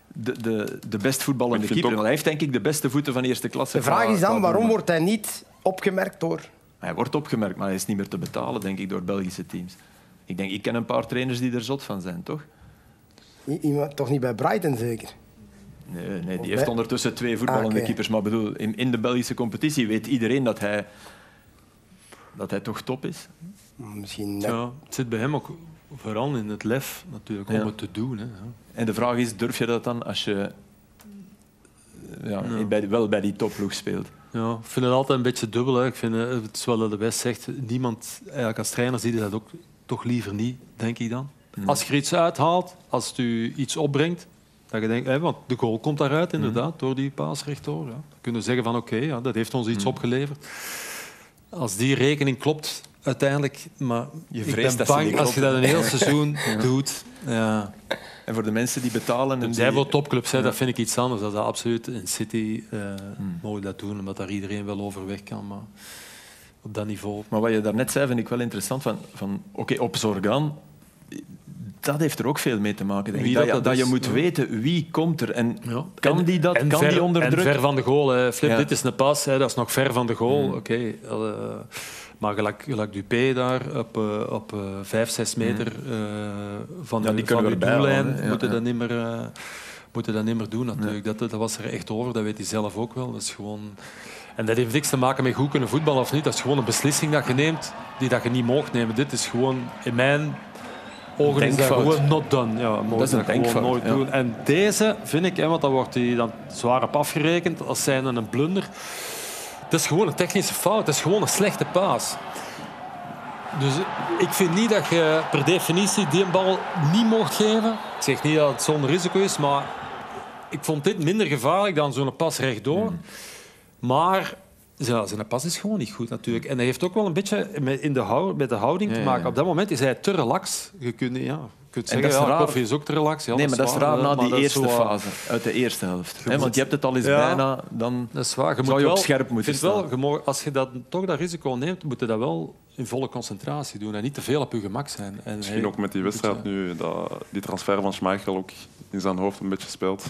Speaker 6: de, de, de best voetballende
Speaker 2: Ik vind
Speaker 6: keeper is.
Speaker 2: ook-
Speaker 6: Hij heeft denk ik de beste voeten van eerste klasse.
Speaker 7: de vraag
Speaker 6: qua-
Speaker 7: is
Speaker 6: qua
Speaker 7: dan, waarom
Speaker 6: doelman.
Speaker 7: wordt hij niet opgemerkt door...
Speaker 6: Hij wordt opgemerkt, maar hij is niet meer te betalen, denk ik, door Belgische teams. Ik denk, ik ken een paar trainers die er zot van zijn, toch?
Speaker 7: i- iemand- toch niet bij Brighton zeker?
Speaker 6: Nee, nee die
Speaker 7: bij-
Speaker 6: heeft ondertussen twee voetballende
Speaker 7: Ah, oké.
Speaker 6: keepers. Maar bedoel, in, in de Belgische competitie weet iedereen dat hij, dat hij toch top is.
Speaker 7: Nou, Misschien net.
Speaker 3: Ja, het zit bij hem ook vooral in het lef natuurlijk, om
Speaker 6: Ja.
Speaker 3: het te doen. Hè. Ja.
Speaker 6: En de vraag is, durf je dat dan als je eh, ja, in- bij, wel bij die topploeg speelt?
Speaker 3: Ja, ik vind het altijd een beetje dubbel. Hè. Ik vind, eh, het is wel dat de West zegt, niemand eigenlijk als trainer ziet dat ook toch liever niet, denk ik dan. Als je er iets uithaalt, als het u iets opbrengt, dat je denkt, hè, want de goal komt daaruit inderdaad, door die paas rechtdoor. Ja. Dan kunnen we zeggen van oké, ja, dat heeft ons iets opgeleverd. Als die rekening klopt, uiteindelijk, maar
Speaker 6: Je
Speaker 3: ik
Speaker 6: vreest
Speaker 3: ben
Speaker 6: dat ze
Speaker 3: bang
Speaker 6: niet
Speaker 3: als je dat
Speaker 6: kloppen.
Speaker 3: een heel seizoen doet. Ja.
Speaker 6: En voor de mensen die betalen... En
Speaker 3: Zij
Speaker 6: die-
Speaker 3: wil topclubs, hè, dat vind ik iets anders. Dat is absoluut in City eh
Speaker 6: Hmm.
Speaker 3: mogen dat doen, omdat daar iedereen wel overweg kan. Maar op dat niveau.
Speaker 6: Maar wat je daarnet zei, vind ik wel interessant. Van, van, Oké, op Zorgan, dat heeft er ook veel mee te maken. Denk ik.
Speaker 3: Wie
Speaker 6: Dat,
Speaker 3: dat
Speaker 6: je-
Speaker 3: dat
Speaker 6: dat je
Speaker 3: is,
Speaker 6: moet
Speaker 3: ja.
Speaker 6: weten wie komt er en kan
Speaker 3: En-
Speaker 6: die dat,
Speaker 3: en
Speaker 6: kan
Speaker 3: ver,
Speaker 6: die onder
Speaker 3: en
Speaker 6: druk.
Speaker 3: ver van de goal. hè. Flip,
Speaker 6: Ja. Mm.
Speaker 3: dit is een pas, hè. dat is nog ver van de goal. Oké, eh, maar gelijk, gelijk Dupé daar op, eh, op eh, vijf, zes meter eh, van,
Speaker 6: Mm. Ja,
Speaker 3: de-
Speaker 6: die kunnen
Speaker 3: van
Speaker 6: we
Speaker 3: de
Speaker 6: erbij halen,
Speaker 3: doellijn
Speaker 6: hè. Ja,
Speaker 3: moeten
Speaker 6: ja.
Speaker 3: dat niet meer... eh, moeten dat niet meer doen natuurlijk. Dat, dat was er echt over, dat weet hij zelf ook wel. Dat is gewoon... En dat heeft niks te maken met goed kunnen voetballen of niet. Dat is gewoon een beslissing dat je neemt, die dat je niet mocht nemen. Dit is gewoon, in mijn ogen, is dat
Speaker 6: Denkfout.
Speaker 3: gewoon not done. Ja, mogen
Speaker 6: Dat is een
Speaker 3: we gewoon
Speaker 6: denkfout,
Speaker 3: nooit
Speaker 6: ja.
Speaker 3: doen. En deze vind ik, hè, want daar wordt hij dan zwaar op afgerekend als zijnde een blunder. Dat is gewoon een technische fout. Dat is gewoon een slechte paas. Dus ik vind niet dat je per definitie die een bal niet mocht geven. Ik zeg niet dat het zonder risico is, maar ik vond dit minder gevaarlijk dan zo'n pas rechtdoor.
Speaker 6: Hmm.
Speaker 3: Maar ja, zijn pas is gewoon niet goed natuurlijk. En hij heeft ook wel een beetje met, in de hou, met de houding
Speaker 6: Ja,
Speaker 3: te
Speaker 6: ja,
Speaker 3: maken.
Speaker 6: ja.
Speaker 3: Op dat moment is hij te relax. Je kunt, niet- ja, je kunt
Speaker 6: En
Speaker 3: zeggen,
Speaker 6: dat is
Speaker 3: ja,
Speaker 6: raar.
Speaker 3: koffie is ook te relax. Ja,
Speaker 6: nee, maar dat is
Speaker 3: waar,
Speaker 6: raar na
Speaker 3: maar
Speaker 6: die
Speaker 3: dat is
Speaker 6: eerste
Speaker 3: zo, eh,
Speaker 6: fase, uit de eerste helft. Hè, want je hebt het al eens
Speaker 3: Ja.
Speaker 6: bijna, dan
Speaker 3: Dat is waar. Je
Speaker 6: Zou
Speaker 3: moet
Speaker 6: je op
Speaker 3: wel-
Speaker 6: scherp moeten
Speaker 3: vind wel,
Speaker 6: staan.
Speaker 3: je mag- als je dat, toch dat risico neemt, moet je dat wel in volle concentratie doen. En niet te veel op je gemak zijn. En
Speaker 2: Misschien
Speaker 3: hij-
Speaker 2: ook met die wedstrijd nu, dat die transfer van Schmeichel ook in zijn hoofd een beetje speelt.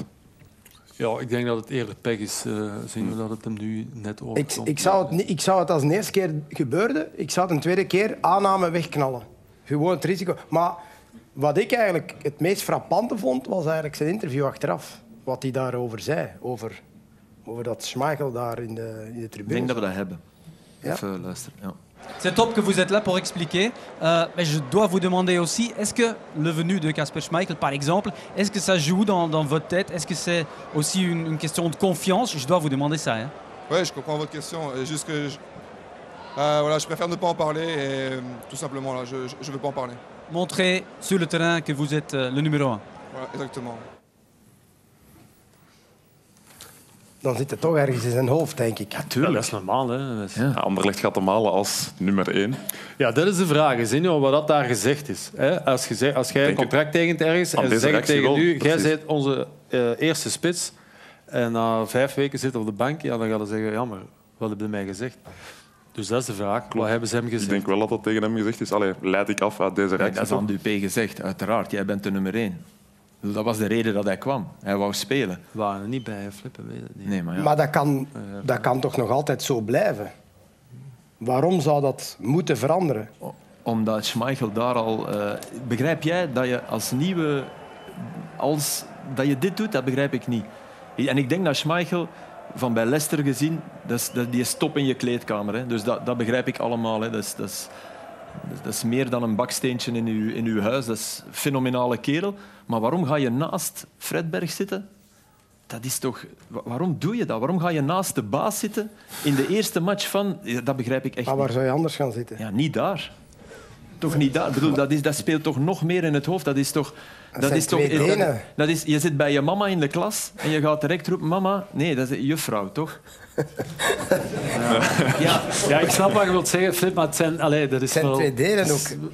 Speaker 3: Ja, ik denk dat het eerder pech is. eh zien
Speaker 6: Hmm.
Speaker 3: we dat het hem nu net
Speaker 7: Ik,
Speaker 3: overkomt.
Speaker 7: ik, zou het, niet- ik zou het als een eerste keer gebeurde, ik zou het een tweede keer aanname wegknallen. Gewoon het risico. Maar wat ik eigenlijk het meest frappante vond, was eigenlijk zijn interview achteraf. Wat hij daarover zei. Over, over dat Schmeichel daar in de, in de
Speaker 6: ik
Speaker 7: tribune.
Speaker 6: denk dat we dat hebben.
Speaker 7: Ja.
Speaker 6: Even luisteren. Ja.
Speaker 9: C'est top que vous êtes là pour expliquer. Euh, mais je dois vous demander aussi, est-ce que le venu de Casper Schmeichel, par exemple, est-ce que ça joue dans, dans votre tête Est-ce que c'est aussi une, une question de confiance Je dois vous demander ça. hein.
Speaker 10: Ouais, je comprends votre question. Et juste que je... Euh, voilà, je préfère ne pas en parler et euh, tout simplement là, je, je, je veux pas en parler.
Speaker 9: Montrer sur le terrain que vous êtes euh, le numéro un.
Speaker 10: Voilà, exactement.
Speaker 7: Dan zit het toch ergens in zijn hoofd, denk ik.
Speaker 3: Ja, dat is normaal. Hè. Dat is-
Speaker 6: Ja.
Speaker 2: Ja, Anderlecht gaat hem halen als nummer één.
Speaker 3: Ja, dat is de vraag. Is in wat dat daar gezegd is. Hè? Als, je zegt- als jij een
Speaker 2: Denk ik.
Speaker 3: contract tekent ergens
Speaker 2: Aan
Speaker 3: en ze
Speaker 2: deze
Speaker 3: zeggen
Speaker 2: reactie
Speaker 3: tegen
Speaker 2: wel,
Speaker 3: nu, jij
Speaker 2: precies.
Speaker 3: bent onze eh, eerste spits en na vijf weken zit op de bank, ja, dan gaan ze zeggen, ja, maar wat hebben ze mij gezegd? Dus dat is de vraag. Wat hebben ze hem
Speaker 2: Ik
Speaker 3: gezegd?
Speaker 2: denk wel dat dat tegen hem gezegd is. Allee, leid ik af uit deze
Speaker 6: Ja, dat
Speaker 2: reactie.
Speaker 6: is aan Dupé gezegd, uiteraard. Jij bent de nummer één. Ik bedoel, Dat was de reden dat hij kwam. Hij wou spelen.
Speaker 3: We waren er niet bij, hè, Flippen, weet het niet.
Speaker 6: Nee, maar ja.
Speaker 7: Maar dat kan, dat kan toch nog altijd zo blijven? Waarom zou dat moeten veranderen?
Speaker 6: Omdat Schmeichel daar al... eh, begrijp jij dat je als nieuwe... Als, dat je dit doet, dat begrijp ik niet. En ik denk dat Schmeichel, van bij Leicester gezien, dat is, dat, die is top in je kleedkamer. Hè. Dus dat, dat begrijp ik allemaal. Hè. Dat, is, dat, is, dat is- dat is meer dan een baksteentje in uw, in uw huis. Dat is een fenomenale kerel. Maar waarom ga je naast Fredberg zitten? Dat is toch... wa- Waarom doe je dat? Waarom ga je naast de baas zitten in de eerste match van... Ja, Dat begrijp ik echt
Speaker 7: Maar
Speaker 6: niet.
Speaker 7: waar zou je anders gaan zitten?
Speaker 6: Ja, niet daar. Toch niet daar. Ik bedoel, dat, is, dat speelt toch nog meer in het hoofd. Dat is toch... Dat,
Speaker 7: zijn
Speaker 6: is toch
Speaker 7: twee
Speaker 6: dat-
Speaker 7: benen.
Speaker 6: dat is, je zit bij je mama in de klas en je gaat direct roepen: Mama, nee, dat is juffrouw, toch? Ja,
Speaker 3: Ja, ik snap wat je wilt zeggen, Flip, maar het zijn, allee, dat is
Speaker 7: Het zijn
Speaker 3: wel...
Speaker 7: twee delen
Speaker 3: dat is-
Speaker 7: ook.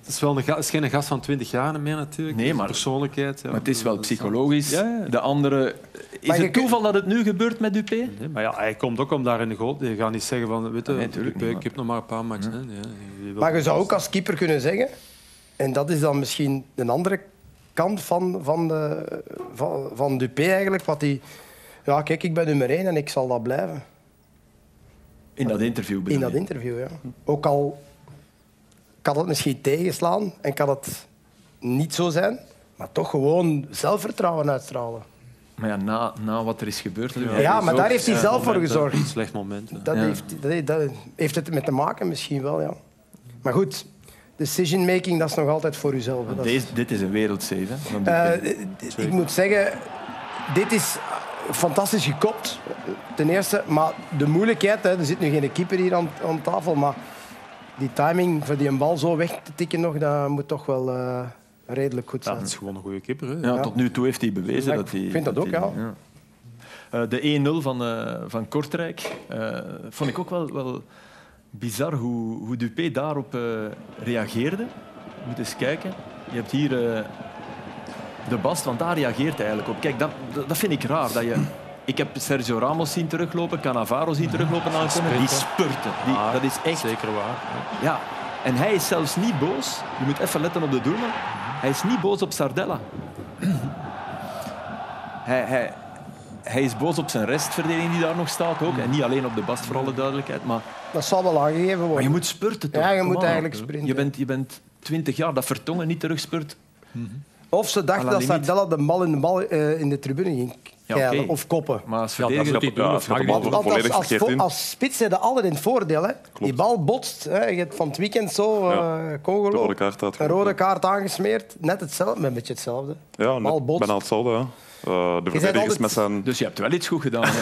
Speaker 3: Het is, wel een, ga- het is geen gast van 20 jaar meer natuurlijk.
Speaker 6: Nee,
Speaker 3: Dus
Speaker 6: maar-
Speaker 3: Persoonlijkheid. ja.
Speaker 6: maar het is wel
Speaker 3: Dat is-
Speaker 6: psychologisch.
Speaker 3: Ja, ja.
Speaker 6: De andere. Is
Speaker 7: Maar je
Speaker 6: het toeval dat het nu gebeurt met Dupé?
Speaker 3: Nee, maar ja, hij komt ook om daar in de goal. Je gaat niet zeggen van, weet je,
Speaker 6: Nee, tuurlijk
Speaker 3: Dupé,
Speaker 6: niet,
Speaker 3: ik heb nog maar een paar matchen. hè. Ja, je wil-
Speaker 7: Maar je zou ook als keeper kunnen zeggen, en dat is dan misschien een andere kant van, van, de, van, van Dupé eigenlijk, wat die, ja kijk, ik ben nummer één en ik zal dat blijven.
Speaker 6: In dat interview bedoel
Speaker 7: In dat
Speaker 6: je?
Speaker 7: interview, ja. Ook al kan het misschien tegenslaan en kan het niet zo zijn, maar toch gewoon zelfvertrouwen uitstralen.
Speaker 6: Maar ja, na, na wat er is gebeurd.
Speaker 7: Ja, maar daar heeft hij zelf voor
Speaker 3: Momenten,
Speaker 7: gezorgd.
Speaker 3: Slecht moment. hè.
Speaker 7: Dat,
Speaker 6: Ja.
Speaker 7: heeft, dat, heeft- dat heeft het met te maken misschien wel, ja. Maar goed, decision making, dat is nog altijd voor uzelf. hè. Dat is-
Speaker 6: Deze, dit is een wereldsave. hè, van Dupé.
Speaker 7: Eh, ik moet zeggen, dit is fantastisch gekopt, ten eerste. Maar de moeilijkheid, hè, er zit nu geen keeper hier aan, aan tafel, maar die timing voor die een bal zo weg te tikken nog, dat moet toch wel eh, redelijk goed
Speaker 3: Ja,
Speaker 7: zijn.
Speaker 3: dat is gewoon een goede kipper. Hè.
Speaker 6: Ja, tot nu toe heeft hij bewezen
Speaker 7: Ja,
Speaker 6: dat hij...
Speaker 7: ik vind dat ook,
Speaker 6: hij-
Speaker 7: ja.
Speaker 6: Eh, de 1-0 van, eh, van Kortrijk eh, vond ik ook wel, wel bizar hoe, hoe Dupé daarop eh, reageerde. Moet eens kijken. Je hebt hier eh, de Bast, want daar reageert hij eigenlijk op. Kijk, dat, dat, dat vind ik raar. Dat je, ik heb Sergio Ramos zien teruglopen, Cannavaro zien teruglopen naar een corner. Die spurten. Die,
Speaker 7: Ah,
Speaker 3: Maar
Speaker 6: dat is echt
Speaker 3: Zeker waar.
Speaker 6: ja, en hij is zelfs niet boos. Je moet even letten op de doelman. Hij is niet boos op Sardella. hij, hij, hij is boos op zijn restverdediging die daar nog staat ook. En niet alleen op de Bast, voor alle duidelijkheid. Maar,
Speaker 7: Dat zal wel aangegeven worden.
Speaker 6: maar je moet spurten toch?
Speaker 7: Ja, je
Speaker 6: Kom
Speaker 7: moet
Speaker 6: aan.
Speaker 7: eigenlijk sprinten.
Speaker 6: Je bent, je bent 20 jaar, dat vertongen niet terugspurt.
Speaker 7: Of ze
Speaker 6: À
Speaker 7: dachten
Speaker 6: la
Speaker 7: dat
Speaker 6: limiet.
Speaker 7: Sardella de bal in de, bal, eh, in de tribune ging
Speaker 6: Ja, oké.
Speaker 7: keilen of koppen.
Speaker 6: Maar als
Speaker 3: Ja, dat
Speaker 6: verdediger...
Speaker 3: moet hij doen.
Speaker 2: Ja,
Speaker 3: dat
Speaker 2: het gaat
Speaker 3: mag
Speaker 2: om
Speaker 3: niet.
Speaker 2: over-
Speaker 7: Want
Speaker 2: volledig
Speaker 7: als, als,
Speaker 2: verkeerd
Speaker 7: vo-
Speaker 2: in.
Speaker 7: als spits heb je altijd een voordeel. Hè. Die bal botst. Hè. Je hebt van het weekend zo eh,
Speaker 2: Ja.
Speaker 7: Congo
Speaker 2: De rode kaart
Speaker 7: een
Speaker 2: uitgelopen.
Speaker 7: rode kaart aangesmeerd. Net hetzelfde, maar een beetje hetzelfde.
Speaker 2: Ja,
Speaker 7: Bal
Speaker 2: net,
Speaker 7: botst.
Speaker 2: bijna hetzelfde. Hè. Eh, de
Speaker 7: bent
Speaker 2: verdedigers
Speaker 7: altijd-
Speaker 2: met zijn...
Speaker 6: Dus je hebt wel iets goed gedaan. hè.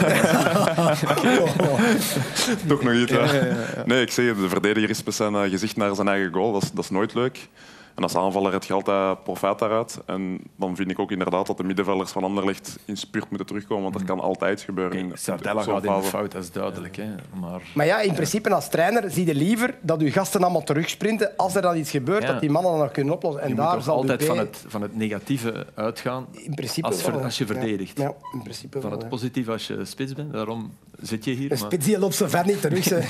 Speaker 2: Toch nog niet, hè? Nee, ik zeg het, de verdediger is met zijn eh, gezicht naar zijn eigen goal. Dat is, dat is nooit leuk. En als aanvaller het je altijd profijt daaruit. En dan vind ik ook inderdaad dat de middenvelders van Anderlecht in spurt moeten terugkomen, want dat kan altijd gebeuren.
Speaker 6: Kijk,
Speaker 2: in-
Speaker 6: Sardella
Speaker 2: zo'n
Speaker 6: gaat in de
Speaker 2: fase.
Speaker 6: fout, dat is duidelijk. Hè. Maar
Speaker 7: Maar ja, in principe als trainer zie je liever dat je gasten allemaal terugsprinten. Als er dan iets gebeurt,
Speaker 6: Ja.
Speaker 7: dat die mannen dat nog kunnen oplossen. En
Speaker 6: je
Speaker 7: daar
Speaker 6: moet toch
Speaker 7: zal
Speaker 6: altijd
Speaker 7: Dubé
Speaker 6: van het, van het negatieve uitgaan.
Speaker 7: in principe
Speaker 6: als ver-
Speaker 7: wel, hè.
Speaker 6: als je
Speaker 7: Ja.
Speaker 6: verdedigt.
Speaker 7: Ja, in principe
Speaker 6: Van
Speaker 7: wel,
Speaker 6: het
Speaker 7: hè.
Speaker 6: positieve als je spits bent. Daarom zit je
Speaker 7: Een
Speaker 6: hier. Maar...
Speaker 7: spits die loopt zo ver niet terug. ze.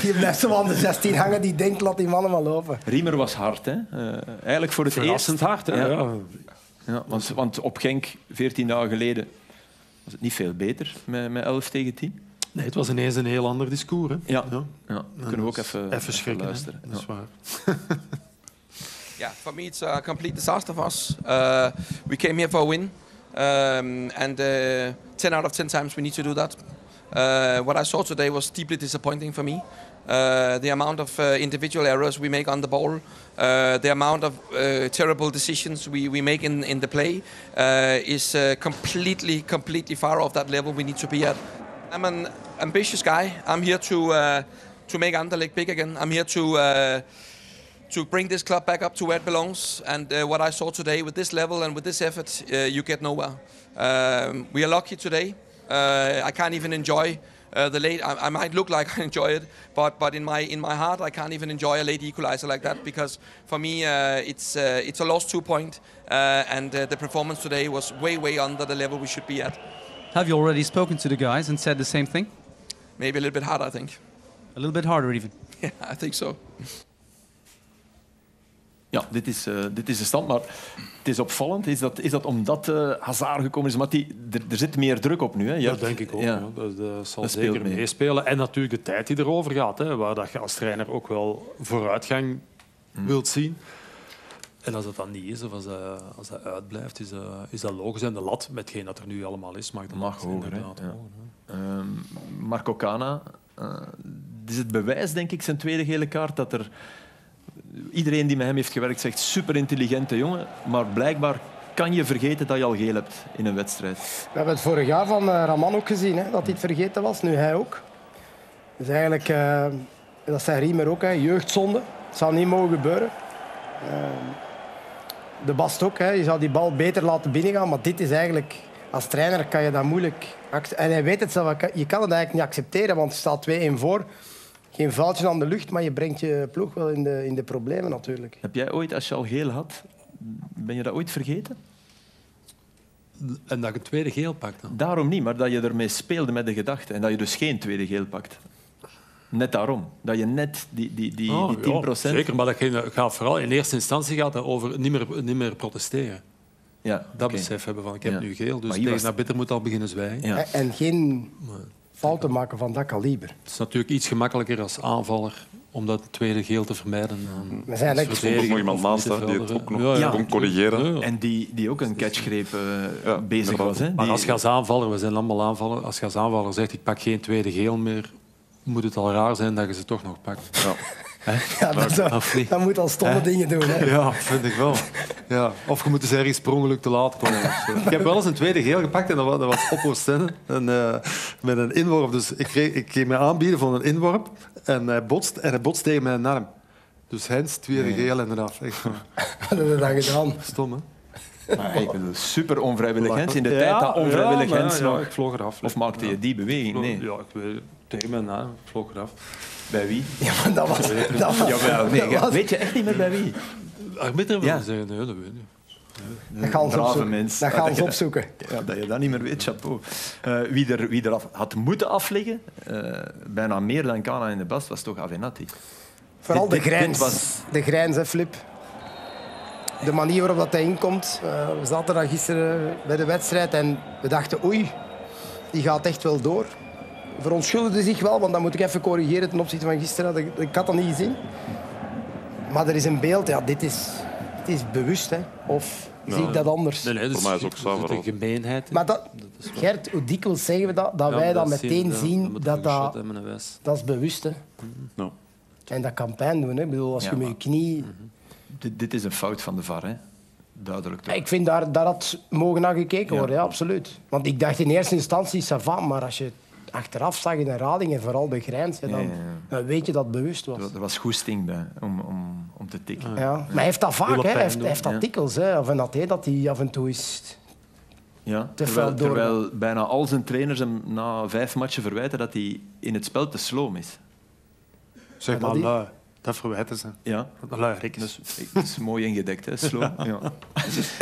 Speaker 7: Die blijft zo aan de 16 hangen. Die denkt, laat die mannen maar lopen.
Speaker 6: Riemer was hard, hè? Eh, eigenlijk voor het
Speaker 3: Verrassend hard, hè?
Speaker 6: Ja.
Speaker 3: Ja.
Speaker 6: eerst. Ja, want, want op Genk, 14 dagen geleden, was het niet veel beter met, met 11 tegen 10.
Speaker 3: Nee, het was ineens een heel ander discours. Hè.
Speaker 6: Ja, ja. kunnen we ook even,
Speaker 3: Even schrikken.
Speaker 6: luisteren.
Speaker 3: hè. Dat is waar.
Speaker 11: Yeah, for me, it's a complete disaster for us. Uh, we came here for a win, um, and uh, 10 out of 10 times we need to do that. Uh, what I saw today was deeply disappointing for me. Uh, the amount of uh, individual errors we make on the ball, uh, the amount of uh, terrible decisions we, we make in, in the play uh, is uh, completely, completely far off that level we need to be at. I'm an ambitious guy. I'm here to uh, to make Anderlecht big again. I'm here to uh, to bring this club back up to where it belongs. And uh, what I saw today, with this level and with this effort, uh, you get nowhere. Um, we are lucky today. Uh, I can't even enjoy. Uh, the late, I, I might look like I enjoy it, but but in my in my heart, I can't even enjoy a late equalizer like that because for me, uh, it's uh, it's a lost two point, uh, and uh, the performance today was way way under the level we should be at.
Speaker 9: Have you already spoken to the guys and said the same thing?
Speaker 11: Maybe a little bit hard, I think.
Speaker 9: A little bit harder even.
Speaker 11: Yeah, I think so.
Speaker 6: Ja, dit is, eh, dit is de stand. Maar het is opvallend. Is dat, is dat omdat eh Hazard gekomen is? Maar die, er, er zit meer druk op nu. Hè? Je
Speaker 3: Dat
Speaker 6: hebt-
Speaker 3: denk ik ook.
Speaker 6: ja.
Speaker 3: ja. Dat, dat zal
Speaker 6: Dat speelt
Speaker 3: zeker
Speaker 6: mee.
Speaker 3: meespelen. En natuurlijk de tijd die erover gaat. Hè, waar dat je als trainer ook wel vooruitgang wilt zien. En als dat dan niet is, of als dat, als dat uitblijft, is dat, is dat logisch. En de lat, met geen dat er nu allemaal is, mag de
Speaker 6: Mag
Speaker 3: lat
Speaker 6: hoger, hè?
Speaker 3: inderdaad
Speaker 6: Ja.
Speaker 3: hoger, hè.
Speaker 6: Ehm, Marco Cana, eh, dit is het bewijs, denk ik, zijn tweede gele kaart, dat er iedereen die met hem heeft gewerkt zegt super intelligente jongen, maar blijkbaar kan je vergeten dat je al geel hebt in een wedstrijd.
Speaker 7: We hebben het vorig jaar van eh, Raman ook gezien, hè, dat hij het vergeten was. Nu hij ook. Dus eigenlijk, eh, dat zei Riemer ook, hè, jeugdzonde. Het zou niet mogen gebeuren. Eh, de Bast ook, hè, je zou die bal beter laten binnengaan. Maar dit is eigenlijk, als trainer kan je dat moeilijk... ac- En hij weet het zelf, hij kan- je kan het eigenlijk niet accepteren, want er staat 2-1 voor. Geen vuiltje aan de lucht, maar je brengt je ploeg wel in de, in de problemen natuurlijk.
Speaker 6: Heb jij ooit, als je al geel had, ben je dat ooit vergeten?
Speaker 3: En dat ik een tweede geel pak dan.
Speaker 6: Daarom niet, maar dat je ermee speelde met de gedachte en dat je dus geen tweede geel pakt. Net daarom. Dat je net die, die, die,
Speaker 3: Oh,
Speaker 6: die
Speaker 3: ja,
Speaker 6: 10 procent...
Speaker 3: zeker, maar dat ging- gaat vooral in eerste instantie gaat het over niet meer, niet meer protesteren.
Speaker 6: Ja,
Speaker 3: Dat
Speaker 6: oké.
Speaker 3: besef hebben van ik heb
Speaker 6: Ja.
Speaker 3: nu geel, dus
Speaker 6: Maar hier
Speaker 3: tegen
Speaker 6: was-
Speaker 3: naar bitter moet al beginnen zwijgen.
Speaker 6: Ja.
Speaker 7: En- En geen fouten maken van dat kaliber.
Speaker 3: Het is natuurlijk iets gemakkelijker als aanvaller om dat tweede geel te vermijden. dan
Speaker 7: We zijn
Speaker 3: als
Speaker 7: eigenlijk-
Speaker 2: Er
Speaker 3: verdediger
Speaker 2: stond nog iemand
Speaker 3: of
Speaker 2: naast hè, die het
Speaker 3: middenvelder,
Speaker 2: ook
Speaker 3: hè.
Speaker 2: nog
Speaker 3: Ja, ja.
Speaker 2: kon corrigeren.
Speaker 3: Ja, ja.
Speaker 6: En die, die ook een catchgreep eh,
Speaker 2: Ja,
Speaker 6: bezig
Speaker 2: inderdaad.
Speaker 6: was. Hè?
Speaker 3: Maar
Speaker 6: Die-
Speaker 3: als je als aanvaller, we zijn allemaal aanvaller, als je als aanvaller zegt ik pak geen tweede geel meer, moet het al raar zijn dat je ze toch nog pakt.
Speaker 7: Ja, dat, zou,
Speaker 3: Of niet?
Speaker 7: dat moet al stomme dingen doen. Hè.
Speaker 8: Ja, vind ik wel. Ja. Of je moet dus ergens per ongeluk te laat komen. of zo. Ik heb wel eens een tweede geel gepakt en dat was, dat was op Oostende. En, eh, met een inworp. Dus ik kreeg, ik kreeg me aanbieden voor een inworp. En hij botst, en hij botst tegen mijn arm. Dus Hens, tweede geel inderdaad. Echt, eh,
Speaker 7: Dat hebben we dan gedaan.
Speaker 8: stom, hè?
Speaker 6: Maar Ah, ik bedoel, super onvrijwillig Hens. In de
Speaker 8: Ja,
Speaker 6: tijd dat onvrijwillig
Speaker 8: ja, maar
Speaker 6: Hens
Speaker 8: ja,
Speaker 6: nog...
Speaker 8: ik vloog eraf.
Speaker 6: Of maakte je die beweging? Nee.
Speaker 8: Ja, ik weet het. Tegen mijn naam, ik vloog eraf.
Speaker 6: Bij wie?
Speaker 7: Ja, maar dat was... Dat was
Speaker 6: Jawel, nee.
Speaker 7: dat
Speaker 6: ja.
Speaker 7: was-
Speaker 6: Weet je echt niet meer bij wie?
Speaker 3: Arbiter wil
Speaker 6: Ja.
Speaker 3: zeggen, nee, dat weet ik niet.
Speaker 7: dat gaan ze
Speaker 6: brave
Speaker 7: opzoeken.
Speaker 6: mens.
Speaker 7: Dat gaan
Speaker 6: Ja,
Speaker 7: ze
Speaker 6: dat-
Speaker 7: opzoeken.
Speaker 6: Ja, dat je dat niet meer weet, chapeau. Eh, wie er, wie er af- had moeten afleggen, eh, bijna meer dan Kana in de Bast, was toch Avenatti.
Speaker 7: Vooral
Speaker 6: dit-
Speaker 7: de
Speaker 6: dit
Speaker 7: grijns.
Speaker 6: was-
Speaker 7: De grijns, hè, Flip. de manier waarop dat hij inkomt. Eh, we zaten daar gisteren eh, bij de wedstrijd en we dachten oei, die gaat echt wel door. Verontschuldigde zich wel, want dat moet ik even corrigeren ten opzichte van gisteren. Dat ik, ik had dat niet gezien. Maar er is een beeld, ja, dit is, het is bewust. Hè. Of
Speaker 2: Ja.
Speaker 7: zie ik dat anders?
Speaker 2: Nee, nee, dat Voor mij is is- ook dat is Savarov. een
Speaker 12: gemeenheid.
Speaker 7: Maar dat, Gert, hoe dikwijls zeggen we dat? Dat
Speaker 12: Ja,
Speaker 7: wij
Speaker 12: dat
Speaker 7: dat eh,
Speaker 12: zien,
Speaker 7: meteen
Speaker 12: ja. Dan
Speaker 7: zien,
Speaker 12: moet je
Speaker 7: dat
Speaker 12: goed shot
Speaker 7: dat,
Speaker 12: hebben en wijs.
Speaker 7: dat is bewust. Hè. En dat kan pijn doen. Hè. Ik bedoel, als
Speaker 6: Ja,
Speaker 7: je met je
Speaker 6: maar- Mhm.
Speaker 7: knie...
Speaker 6: Dit, dit is een fout van de VAR, hè? Duidelijk. toch?
Speaker 7: Maar Ik vind daar, daar had mogen naar gekeken worden, ja, absoluut. Want ik dacht in eerste instantie, savan, maar als je het achteraf zag in een rading en vooral de grijns, ja, dan,
Speaker 6: Ja, ja, ja.
Speaker 7: dan weet je dat het bewust was.
Speaker 6: Er wa- er was goesting bij om, om, om te tikken.
Speaker 7: Ja. Maar hij heeft dat vaak,
Speaker 6: Willen
Speaker 7: hè. hij
Speaker 6: pijn
Speaker 7: heeft,
Speaker 6: doen,
Speaker 7: hij heeft dat
Speaker 6: ja.
Speaker 7: dikwijls. Hè. Of en dat hij dat hij af en toe is...
Speaker 6: Ja,
Speaker 7: Te
Speaker 6: terwijl,
Speaker 7: fel door-
Speaker 6: terwijl bijna al zijn trainers hem na vijf matchen verwijten dat hij in het spel te sloom is.
Speaker 8: Zeg maar lui. Dat verwijten ze.
Speaker 6: Ja.
Speaker 8: Lui, Rick.
Speaker 3: Dus,
Speaker 6: Dat is, dat Dus, is mooi ingedekt, hè? Sloom. Ja.
Speaker 7: Is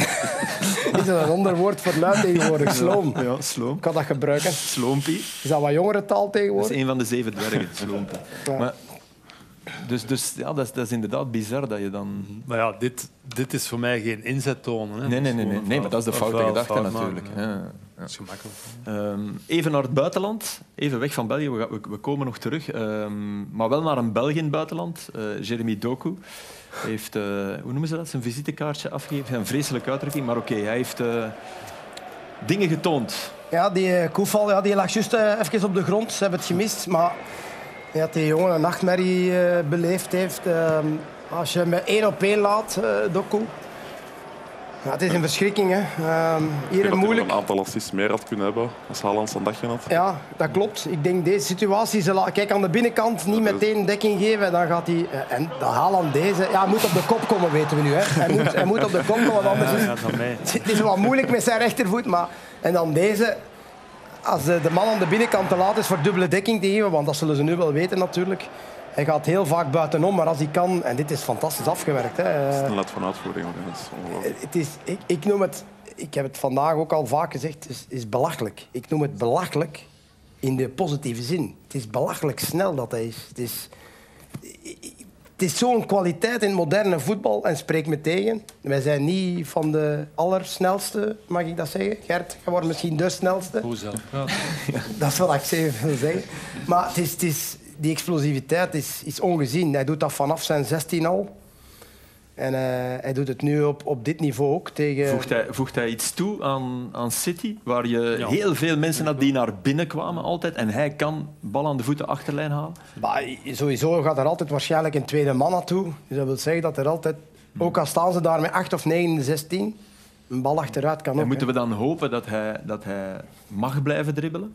Speaker 7: dat een ander woord voor lui tegenwoordig? Sloom.
Speaker 6: Ja, sloom.
Speaker 7: Ik kan dat gebruiken.
Speaker 6: Sloompie.
Speaker 7: Is dat wat jongere taal
Speaker 6: Dat
Speaker 7: tegenwoordig?
Speaker 6: is een van de zeven dwergen, Sloompie.
Speaker 7: Ja.
Speaker 6: Maar, dus dus ja, dat, is, dat is inderdaad bizar dat je dan...
Speaker 8: Maar ja, dit, dit is voor mij geen inzettoon. Hè.
Speaker 6: Nee, nee, nee, nee,
Speaker 8: gewoon
Speaker 6: nee, maar dat is de
Speaker 8: een
Speaker 6: foute
Speaker 8: vuil-
Speaker 6: gedachte
Speaker 8: fout maken,
Speaker 6: natuurlijk.
Speaker 8: hè.
Speaker 6: Ja, ja.
Speaker 8: Dat is gemakkelijk.
Speaker 6: Ehm, even naar het buitenland, even weg van België, we, gaan- we- we komen nog terug. Ehm, maar wel naar een Belg in het buitenland, Eh Jeremy Doku. Heeft, eh, hoe noemen ze dat, zijn visitekaartje afgegeven. Een vreselijke uitdrukking, maar oké, hij heeft eh, dingen getoond.
Speaker 7: Ja, die eh, Koefal ja, die lag juist eh, even op de grond. Ze hebben het gemist. Maar ja, dat die jongen een nachtmerrie eh, beleefd heeft. Ehm, als je hem één op één laat, eh Doku. Ja, het is een verschrikking. Hè. Ehm,
Speaker 2: Ik
Speaker 7: hier
Speaker 2: denk
Speaker 7: een
Speaker 2: dat hij
Speaker 7: moeilijk.
Speaker 2: nog een aantal assists meer had kunnen hebben als Haaland zijn dagje had.
Speaker 7: Ja, dat klopt. Ik denk deze situatie, ze la- kijk aan de binnenkant, niet meteen dekking geven. Dan gaat hij, eh, en de Haaland deze, ja, hij moet op de kop komen, weten we nu. Hè. Hij, moet, hij moet op de kop komen, want anders is, Het is wat moeilijk met zijn rechtervoet, maar... En dan deze. Als eh, de, de man aan de binnenkant te laat is voor dubbele dekking te geven, want dat zullen ze nu wel weten natuurlijk. Hij gaat heel vaak buitenom, maar als hij kan... En dit is fantastisch afgewerkt. Hè. Eh,
Speaker 2: Snelheid van uitvoering, hoor. dat is ongelooflijk.
Speaker 7: het is, ik, ik noem het... Ik heb het vandaag ook al vaak gezegd, het is, is belachelijk. Ik noem het belachelijk in de positieve zin. Het is belachelijk snel dat hij is. Het is, het is zo'n kwaliteit in het moderne voetbal. En spreek me tegen. Wij zijn niet van de allersnelste, mag ik dat zeggen? Gert, je wordt misschien de snelste.
Speaker 3: Hoe zelf?
Speaker 7: Dat is wat ik zeker wil zeggen. Maar het is, het is, die explosiviteit is, is ongezien. Hij doet dat vanaf zijn 16 al. En eh, hij doet het nu op, op dit niveau ook tegen...
Speaker 6: Voegt hij, voegt hij iets toe aan, aan City, waar je
Speaker 7: Ja.
Speaker 6: heel veel mensen had die naar binnen kwamen altijd. En hij kan bal aan de voeten achterlijn halen.
Speaker 7: Maar sowieso gaat er altijd waarschijnlijk een tweede man naartoe. Dus dat wil zeggen dat er altijd,
Speaker 6: Hmm.
Speaker 7: ook al staan ze daar met 8 of 9 in de 16, een bal achteruit kan
Speaker 6: En
Speaker 7: ook.
Speaker 6: moeten
Speaker 7: hè.
Speaker 6: we dan hopen dat hij, dat hij mag blijven dribbelen?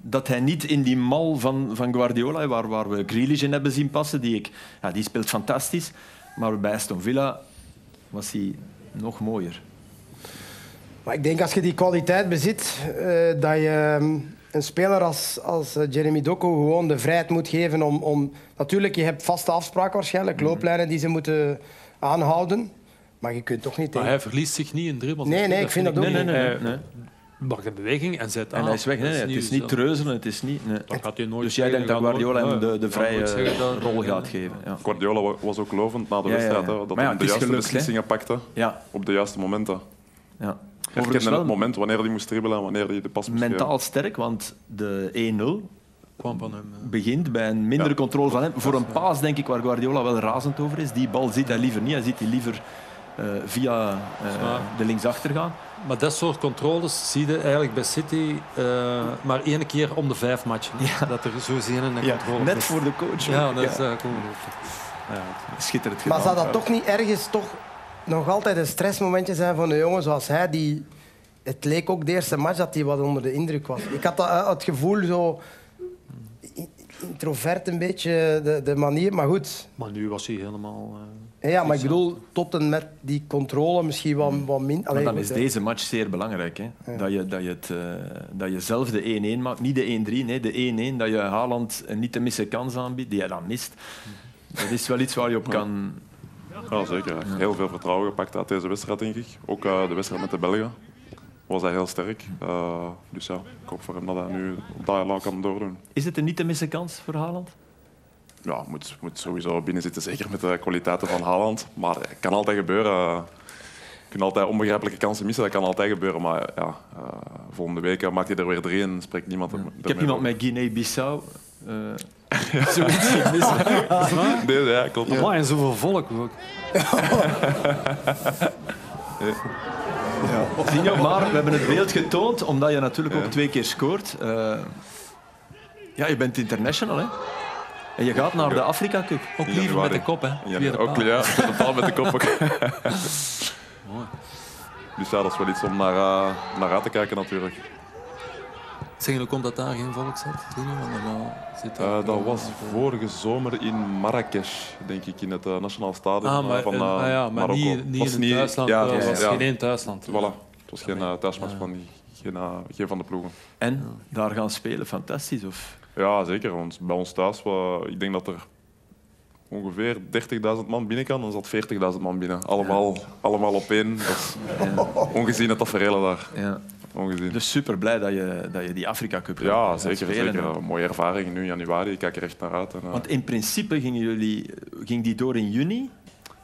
Speaker 6: Dat hij niet in die mal van, van Guardiola, waar, waar we Grealish in hebben zien passen, die, ik, ja, die speelt fantastisch. Maar bij Aston Villa was hij nog mooier.
Speaker 7: Maar ik denk als je die kwaliteit bezit, eh, dat je ehm, een speler als, als eh, Jeremy Doku gewoon de vrijheid moet geven om, om... Natuurlijk, je hebt vaste afspraken
Speaker 3: Mhm.
Speaker 7: waarschijnlijk, looplijnen die ze moeten aanhouden. Maar je kunt toch niet
Speaker 3: Maar
Speaker 7: tegen...
Speaker 3: hij verliest zich niet in dribbels.
Speaker 7: Nee, nee, ik vind dat ook
Speaker 3: nee,
Speaker 7: niet.
Speaker 3: Nee, nee,
Speaker 6: Nee, nee.
Speaker 3: Hij Maakt een beweging en zet aan.
Speaker 6: Eh, En hij is weg. Nee,
Speaker 3: Dat
Speaker 6: nee, het is
Speaker 3: nieuw,
Speaker 6: niet
Speaker 3: zo.
Speaker 6: treuzelen, het is niet... nee.
Speaker 3: Dat gaat hij nooit
Speaker 6: Dus jij denkt dat
Speaker 3: spelen, gaat
Speaker 6: Guardiola
Speaker 3: nooit-
Speaker 6: hem de,
Speaker 3: Ja,
Speaker 6: de
Speaker 3: ja. Dan moet ik
Speaker 6: vrije
Speaker 3: zeggen dat-
Speaker 6: rol gaat geven. Ja.
Speaker 2: Guardiola wa- was ook lovend na de
Speaker 6: Ja, ja, ja.
Speaker 2: wedstrijd. Hè, dat
Speaker 6: Maar ja,
Speaker 2: hij
Speaker 6: het
Speaker 2: de
Speaker 6: is
Speaker 2: juiste
Speaker 6: gelukt, hè.
Speaker 2: beslissingen pakte
Speaker 6: Ja.
Speaker 2: op de juiste momenten.
Speaker 6: Ja.
Speaker 2: Hij
Speaker 6: Overigens
Speaker 2: kende
Speaker 6: wel-
Speaker 2: het moment wanneer hij moest dribbelen en wanneer hij de pas moest
Speaker 6: Mentaal sterk, want de 1-0
Speaker 3: kwam van hem.
Speaker 6: begint bij een mindere
Speaker 2: Ja.
Speaker 6: controle van hem. Voor een paas, denk ik, waar Guardiola wel razend over is. Die bal ziet hij liever niet. Hij ziet die liever eh, via eh,
Speaker 3: waar.
Speaker 6: de linksachter gaan.
Speaker 3: eh. Maar dat soort controles zie je eigenlijk bij City eh, maar één keer om de vijf matchen. Dat er zo zin in een
Speaker 6: Ja,
Speaker 3: controle
Speaker 6: net
Speaker 3: is.
Speaker 6: voor de coach.
Speaker 3: Ja, dat is
Speaker 6: Ja.
Speaker 3: eh, ongelooflijk.
Speaker 6: Schitterend
Speaker 7: Maar
Speaker 6: gedaan.
Speaker 7: zou dat toch niet ergens toch nog altijd een stressmomentje zijn van een jongen zoals hij? Die, het leek ook de eerste match dat hij wat onder de indruk was. Ik had dat, eh, het gevoel zo i- introvert een beetje, de, de manier. Maar goed,
Speaker 3: Maar nu was hij helemaal... eh,
Speaker 7: ja, maar ik bedoel, tot en met die controle misschien wat, wat minder.
Speaker 6: Hmm. Maar dan is deze match zeer belangrijk. Hè? Dat, je, dat, je het, eh, dat je zelf de 1-1 maakt. Niet de 1-3, nee, de 1-1. Dat je Haaland een niet te missen kans aanbiedt, die hij dan mist. Dat is wel iets waar je op kan...
Speaker 2: Ja, zeker. Hij heeft Heel veel vertrouwen gepakt uit deze wedstrijd, denk ik. Ook eh, de wedstrijd met de Belgen was hij heel sterk. Eh, dus ja, ik hoop voor hem dat hij nu op dat jaar kan doordoen.
Speaker 6: Is het een niet te missen kans voor Haaland?
Speaker 2: Ja, moet, moet sowieso binnen zitten, zeker met de kwaliteiten van Haaland. Maar het kan altijd gebeuren. kunnen altijd onbegrijpelijke kansen missen, dat kan altijd gebeuren. Maar ja, eh, volgende week eh, maakt hij er weer drie en spreekt niemand hem.
Speaker 6: Ik heb iemand met Guinea-Bissau. eh zoiets gemist.
Speaker 2: ja. Nee, ja, klopt.
Speaker 3: Amai, en zoveel volk ook.
Speaker 6: Zie je, maar we hebben het beeld getoond omdat je natuurlijk ook twee keer scoort. Eh, ja, je bent international, hè? En je gaat naar de Afrika Cup.
Speaker 9: Ook liever met de kop, hè?
Speaker 2: Ja,
Speaker 9: Via de
Speaker 2: ook,
Speaker 9: paal.
Speaker 2: ja, totaal met de kop. ook. dus ja, dat is wel iets om naar, eh, naar uit te kijken natuurlijk.
Speaker 12: Zeggen ook omdat daar geen volk zat? Toen, want normaal zit daar-
Speaker 2: Eh, dat was vorige zomer in Marrakesh, denk ik, in het eh, Nationaal Stadion
Speaker 12: Ah, maar
Speaker 2: eh, van
Speaker 12: in-
Speaker 2: eh,
Speaker 12: ah ja, maar
Speaker 2: Marokko.
Speaker 12: niet- niet
Speaker 2: Was
Speaker 12: in Duitsland,
Speaker 2: Ja,
Speaker 12: eh,
Speaker 2: het
Speaker 12: was geen één
Speaker 6: Duitsland.
Speaker 2: Voilà, het was geen eh, thuismatch van geen, eh, geen van de ploegen.
Speaker 6: En daar gaan spelen, fantastisch. Of?
Speaker 2: Ja, zeker. Want bij ons thuis, wa- ik denk dat er ongeveer 30.000 man binnen kan, dan zat 40.000 man binnen. Allemaal, allemaal op één. Dat is ongezien het tafereel daar.
Speaker 6: Ja.
Speaker 2: Ongezien.
Speaker 6: Dus super blij dat je, dat je die Afrika Cup gaat-
Speaker 2: Ja,
Speaker 6: gaat
Speaker 2: zeker.
Speaker 6: spelen,
Speaker 2: zeker.
Speaker 6: hè.
Speaker 2: Een mooie ervaring nu in januari. Ik kijk er echt naar uit. En, eh,
Speaker 6: Want in principe gingen jullie, ging die door in juni.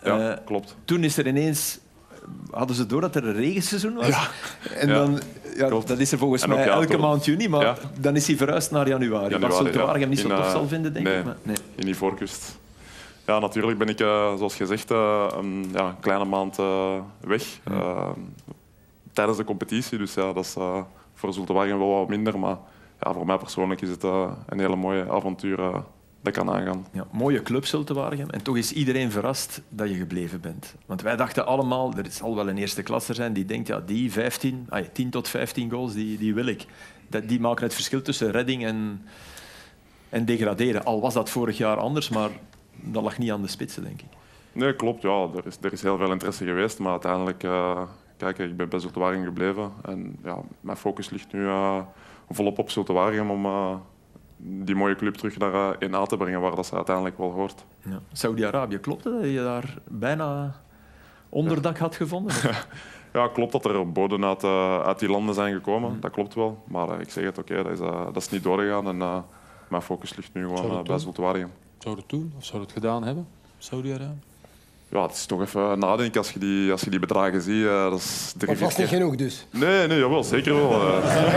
Speaker 2: ja,
Speaker 6: Eh,
Speaker 2: klopt.
Speaker 6: Toen is er ineens... Hadden ze door dat er een regenseizoen was? Ja. En
Speaker 2: Ja.
Speaker 6: dan, ja,
Speaker 2: Klopt.
Speaker 6: dat is er volgens
Speaker 2: En ook
Speaker 6: mij
Speaker 2: ja,
Speaker 6: elke
Speaker 2: toch.
Speaker 6: maand juni, maar
Speaker 2: Ja.
Speaker 6: dan is hij verhuisd naar januari.
Speaker 2: Ja,
Speaker 6: wat
Speaker 2: nu
Speaker 6: ze
Speaker 2: waren,
Speaker 6: te
Speaker 2: ja.
Speaker 6: Waregem niet zo
Speaker 2: In,
Speaker 6: tof
Speaker 2: eh,
Speaker 6: zal vinden, denk
Speaker 2: nee,
Speaker 6: ik. Maar, nee.
Speaker 2: in Ivoorkust. Ja, natuurlijk ben ik, eh, zoals gezegd, eh, een, ja, een kleine maand eh, weg. eh, tijdens de competitie, dus ja, dat is eh, voor Zulte Waregem wel wat minder. Maar ja, voor mij persoonlijk is het eh, een hele mooie avontuur eh, dat ik kan aangaan.
Speaker 6: Ja, mooie club te Waregem. En toch is iedereen verrast dat je gebleven bent. Want wij dachten allemaal, er zal wel een eerste klasser zijn die denkt, ja, die 15, ah ja, 10 tot 15 goals, die, die wil ik. Dat, die maken het verschil tussen redding en, en degraderen. Al was dat vorig jaar anders, maar dat lag niet aan de spitsen, denk ik.
Speaker 2: Nee, klopt. Ja, er is, er is heel veel interesse geweest, maar uiteindelijk, eh, kijk, ik ben bij Zulte Waregem gebleven. En ja, mijn focus ligt nu eh, volop op Zulte Waregem om eh, die mooie club terug naar eh, 1A te brengen, waar dat ze uiteindelijk wel hoort.
Speaker 6: Ja. Saudi-Arabië, klopt het dat je daar bijna onderdak had gevonden?
Speaker 2: Ja, klopt dat er boden uit, eh, uit die landen zijn gekomen.
Speaker 7: Mhm.
Speaker 2: Dat klopt wel. Maar eh, ik zeg het, oké, dat, is, eh, dat is niet doorgegaan. En eh, mijn focus ligt nu
Speaker 3: Zou
Speaker 2: gewoon
Speaker 3: dat
Speaker 2: eh, bij
Speaker 3: doen?
Speaker 2: Zulte Waregem.
Speaker 3: Zou dat doen? Of zou dat gedaan hebben?
Speaker 12: Saudi-Arabië?
Speaker 2: Ja, het is toch even nadenken als je die, als je die bedragen ziet. eh, dat is drie,
Speaker 7: Maar
Speaker 2: vier
Speaker 7: vast niet
Speaker 2: keer-
Speaker 7: genoeg dus.
Speaker 2: Nee, nee, jawel, zeker wel. eh.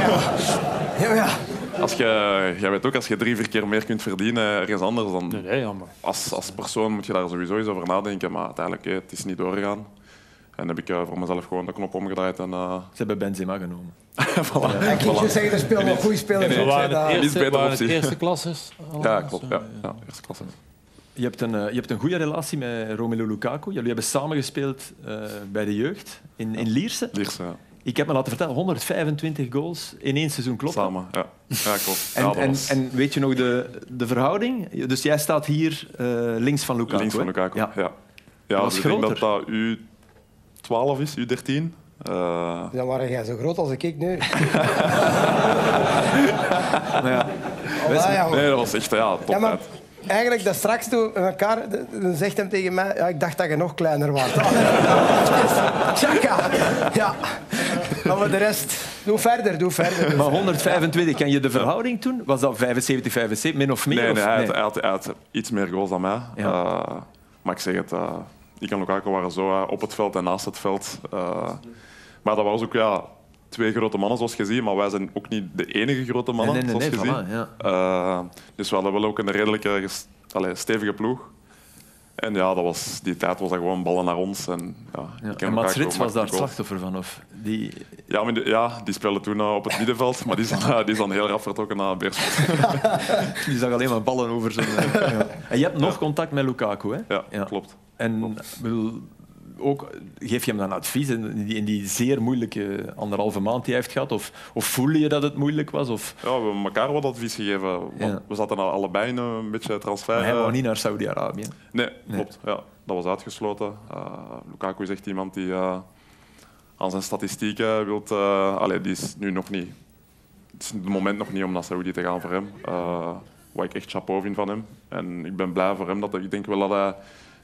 Speaker 7: Ja, ja.
Speaker 2: Als je, jij weet ook, als je drie, vier keer meer kunt verdienen ergens anders, dan
Speaker 3: Nee, nee, ja, maar
Speaker 2: als, als persoon moet je daar sowieso eens over nadenken. Maar uiteindelijk, eh, het is niet doorgegaan. En heb ik eh, voor mezelf gewoon de knop omgedraaid en... eh,
Speaker 6: Ze hebben Benzema genomen.
Speaker 2: voilà.
Speaker 7: Ik ging
Speaker 2: Voilà.
Speaker 7: juist zeggen, er spelen nog goede spelers.
Speaker 2: Nee,
Speaker 7: op,
Speaker 2: nee.
Speaker 7: zei dat.
Speaker 2: Iets beter
Speaker 12: waren het
Speaker 2: optie.
Speaker 12: eerste klassers?
Speaker 6: Oh,
Speaker 2: Ja, klopt. Ja, ja, eerste klasse.
Speaker 6: Je hebt, een, eh, je hebt een goede relatie met Romelu Lukaku. Jullie hebben samengespeeld eh bij de jeugd in, in Lierse.
Speaker 2: Lierse, ja.
Speaker 6: Ik heb me laten vertellen, 125 goals in één seizoen, klopt dat?
Speaker 2: Samen, ja. Ja, klopt.
Speaker 6: En,
Speaker 2: ja, dat
Speaker 6: en,
Speaker 2: was
Speaker 6: en weet je nog de, de verhouding? Dus jij staat hier eh, links van Lukaku.
Speaker 2: links van
Speaker 6: hè?
Speaker 2: Lukaku. Ja. Ja.
Speaker 6: Dat was
Speaker 2: dus ik denk dat
Speaker 6: groter.
Speaker 2: dat U12 is, U13. Eh,
Speaker 7: Dan waren jij zo groot als ik nu.
Speaker 6: Nou
Speaker 7: Allee, jongen.
Speaker 2: nee, dat was echt ja, top.
Speaker 7: Ja, maar eigenlijk dat straks toen we elkaar, de- dan zegt hem tegen mij, ja, ik dacht dat je nog kleiner was. Tjaka. Ja. Nou, Maar voor de rest, doe verder, doe verder.
Speaker 6: Maar 125, ken je de verhouding toen? Was dat 75-75, min of meer?
Speaker 2: Nee,
Speaker 6: of-
Speaker 2: nee, hij, Had, hij, had, hij had iets meer goals dan mij. Eh, maar ik zeg het, eh ik en Lukaku waren zo eh, op het veld en naast het veld. Eh, maar dat was ook ja, twee grote mannen, zoals je ziet. Maar wij zijn ook niet de enige grote mannen,
Speaker 6: Nee, nee, nee,
Speaker 2: zoals
Speaker 6: nee,
Speaker 2: je
Speaker 6: voilà,
Speaker 2: ziet.
Speaker 6: ja.
Speaker 2: Eh, dus we hadden wel ook een redelijke, ges- allee, stevige ploeg. En ja, dat was, die tijd was dat gewoon ballen naar ons. En, ja,
Speaker 6: Ja.
Speaker 2: ik
Speaker 6: En Mats
Speaker 2: Lukaku
Speaker 6: Rits was
Speaker 2: maakte
Speaker 6: daar het
Speaker 2: goals.
Speaker 6: slachtoffer van? Of die...
Speaker 2: Ja, maar die, ja, die speelde toen eh, op het middenveld, maar die is, dan- die is dan heel rap vertrokken naar Beerschot.
Speaker 6: die zag alleen maar ballen over zijn... eh, ja. En je hebt nog contact met Lukaku, hè?
Speaker 2: Ja, klopt.
Speaker 6: En ik bedoel, ook, geef je hem dan advies in die, in die zeer moeilijke anderhalve maand die hij heeft gehad? Of, of voelde je dat het moeilijk was? Of,
Speaker 2: Ja, we hebben elkaar wat advies gegeven. want
Speaker 6: Ja.
Speaker 2: We zaten al allebei in een beetje transfer.
Speaker 6: maar hij
Speaker 2: eh,
Speaker 6: wou niet naar Saudi-Arabië.
Speaker 2: Nee, klopt. Ja, dat was uitgesloten. Eh, Lukaku is echt iemand die eh, aan zijn statistieken wilt... eh allee, die is nu nog niet... Het is het moment nog niet om naar Saudi te gaan voor hem. Eh, wat ik echt chapeau vind van hem. En ik ben blij voor hem. Dat, hij- ik denk wel dat hij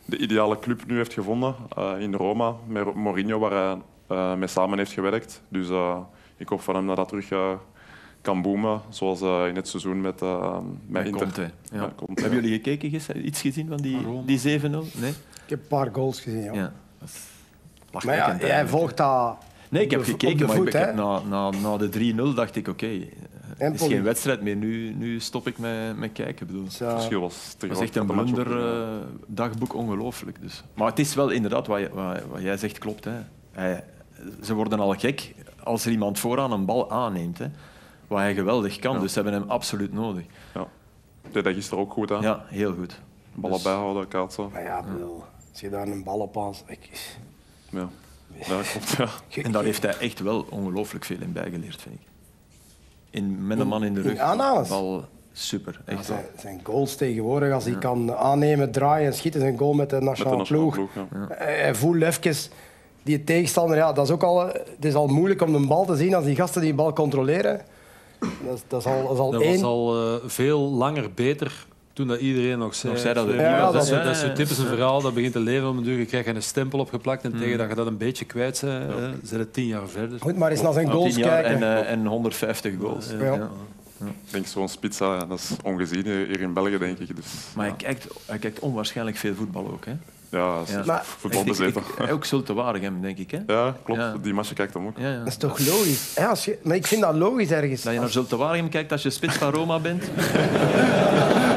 Speaker 2: de ideale club nu heeft gevonden eh, in Roma. Met Ro- Mourinho, waar hij eh, mee samen heeft gewerkt. Dus eh, ik hoop van hem dat dat terug... eh, kan boomen, zoals eh, in het seizoen met, eh met,
Speaker 6: Met
Speaker 2: Inter.
Speaker 6: Conte, ja.
Speaker 2: Met Conte, ja.
Speaker 6: Hebben jullie gekeken gisteren? Iets gezien van die, die 7-0? Nee?
Speaker 7: Ik heb een paar goals gezien, ja.
Speaker 6: Ja.
Speaker 7: Maar ja,
Speaker 6: lachwekkend.
Speaker 7: jij
Speaker 6: eigenlijk.
Speaker 7: volgt dat.
Speaker 6: Nee, ik heb
Speaker 7: op de- op
Speaker 6: gekeken,
Speaker 7: de
Speaker 6: maar
Speaker 7: voet,
Speaker 6: ik heb
Speaker 7: hè?
Speaker 6: na, na, na de 3-0 dacht ik, oké, eh, het is
Speaker 7: Polly.
Speaker 6: geen wedstrijd meer, nu, nu stop ik met, met kijken. Ik Bedoel.
Speaker 7: eh, Het verschil
Speaker 2: was te
Speaker 6: was
Speaker 2: groot.
Speaker 6: echt een
Speaker 2: De match
Speaker 6: blunder, eh, dagboek, ongelooflijk. Dus. Maar het is wel inderdaad, wat, je- wat, wat jij zegt klopt. Hè. Hij- ze worden al gek als er iemand vooraan een bal aanneemt, hè, wat hij geweldig kan. Dus ze hebben hem absoluut nodig.
Speaker 2: Ja. Deed dat gisteren ook goed, hè?
Speaker 6: Ja, heel goed.
Speaker 2: Ballen
Speaker 6: Dus-
Speaker 2: bijhouden, kaatsen.
Speaker 7: Maar ja, ik bedoel, als je daar een bal op aan. Ik,
Speaker 2: Ja, ja klopt, ja.
Speaker 6: En daar heeft hij echt wel ongelooflijk veel in bijgeleerd, vind ik. In, met een man in de
Speaker 7: In
Speaker 6: rug.
Speaker 7: aanhales.
Speaker 6: Bal, super.
Speaker 7: Ja,
Speaker 6: Echt.
Speaker 7: zijn, zijn goals tegenwoordig, als hij kan aannemen, draaien en schieten, zijn goal met de nationale ploeg. Hij hij voelt even die tegenstander. Ja, dat is ook al, het is al moeilijk om een bal te zien als die gasten die bal controleren. Dat is, dat is al, dat is al
Speaker 3: Dat
Speaker 7: één.
Speaker 3: was al eh, veel langer beter toen dat iedereen nog zei...
Speaker 6: Nog zei dat
Speaker 3: zo,
Speaker 6: het
Speaker 3: ja,
Speaker 6: niet was,
Speaker 3: dat, is
Speaker 6: hè?
Speaker 3: zo- dat is zo'n typisch een
Speaker 6: Ja.
Speaker 3: verhaal, dat begint te leven om een duur. Je krijgt een stempel opgeplakt
Speaker 2: Mm.
Speaker 3: en tegen dat je dat een beetje kwijt bent, eh, zijn het tien jaar verder.
Speaker 7: Goed, maar eens naar zijn
Speaker 3: Ja,
Speaker 7: goals
Speaker 3: tien jaar
Speaker 7: kijken.
Speaker 6: En, eh, en 150 goals.
Speaker 3: Ja.
Speaker 7: Ja.
Speaker 2: Ik denk zo'n spits, hè, dat is ongezien hier in België, denk ik. Dus,
Speaker 6: Maar hij kijkt, hij kijkt onwaarschijnlijk veel voetbal ook. Hè?
Speaker 2: ja, dat is
Speaker 6: Maar-
Speaker 2: voetbal
Speaker 6: Ik- ik-
Speaker 2: bezeten.
Speaker 6: ik- Ook zult te waardig hebben, denk ik. Hè?
Speaker 2: Ja, klopt. Die match kijkt hem ook.
Speaker 6: Ja, ja.
Speaker 7: Dat is toch logisch? Ja, als je, maar ik vind dat logisch ergens.
Speaker 6: Dat je naar Zulte Waregem kijkt als je spits van Roma bent.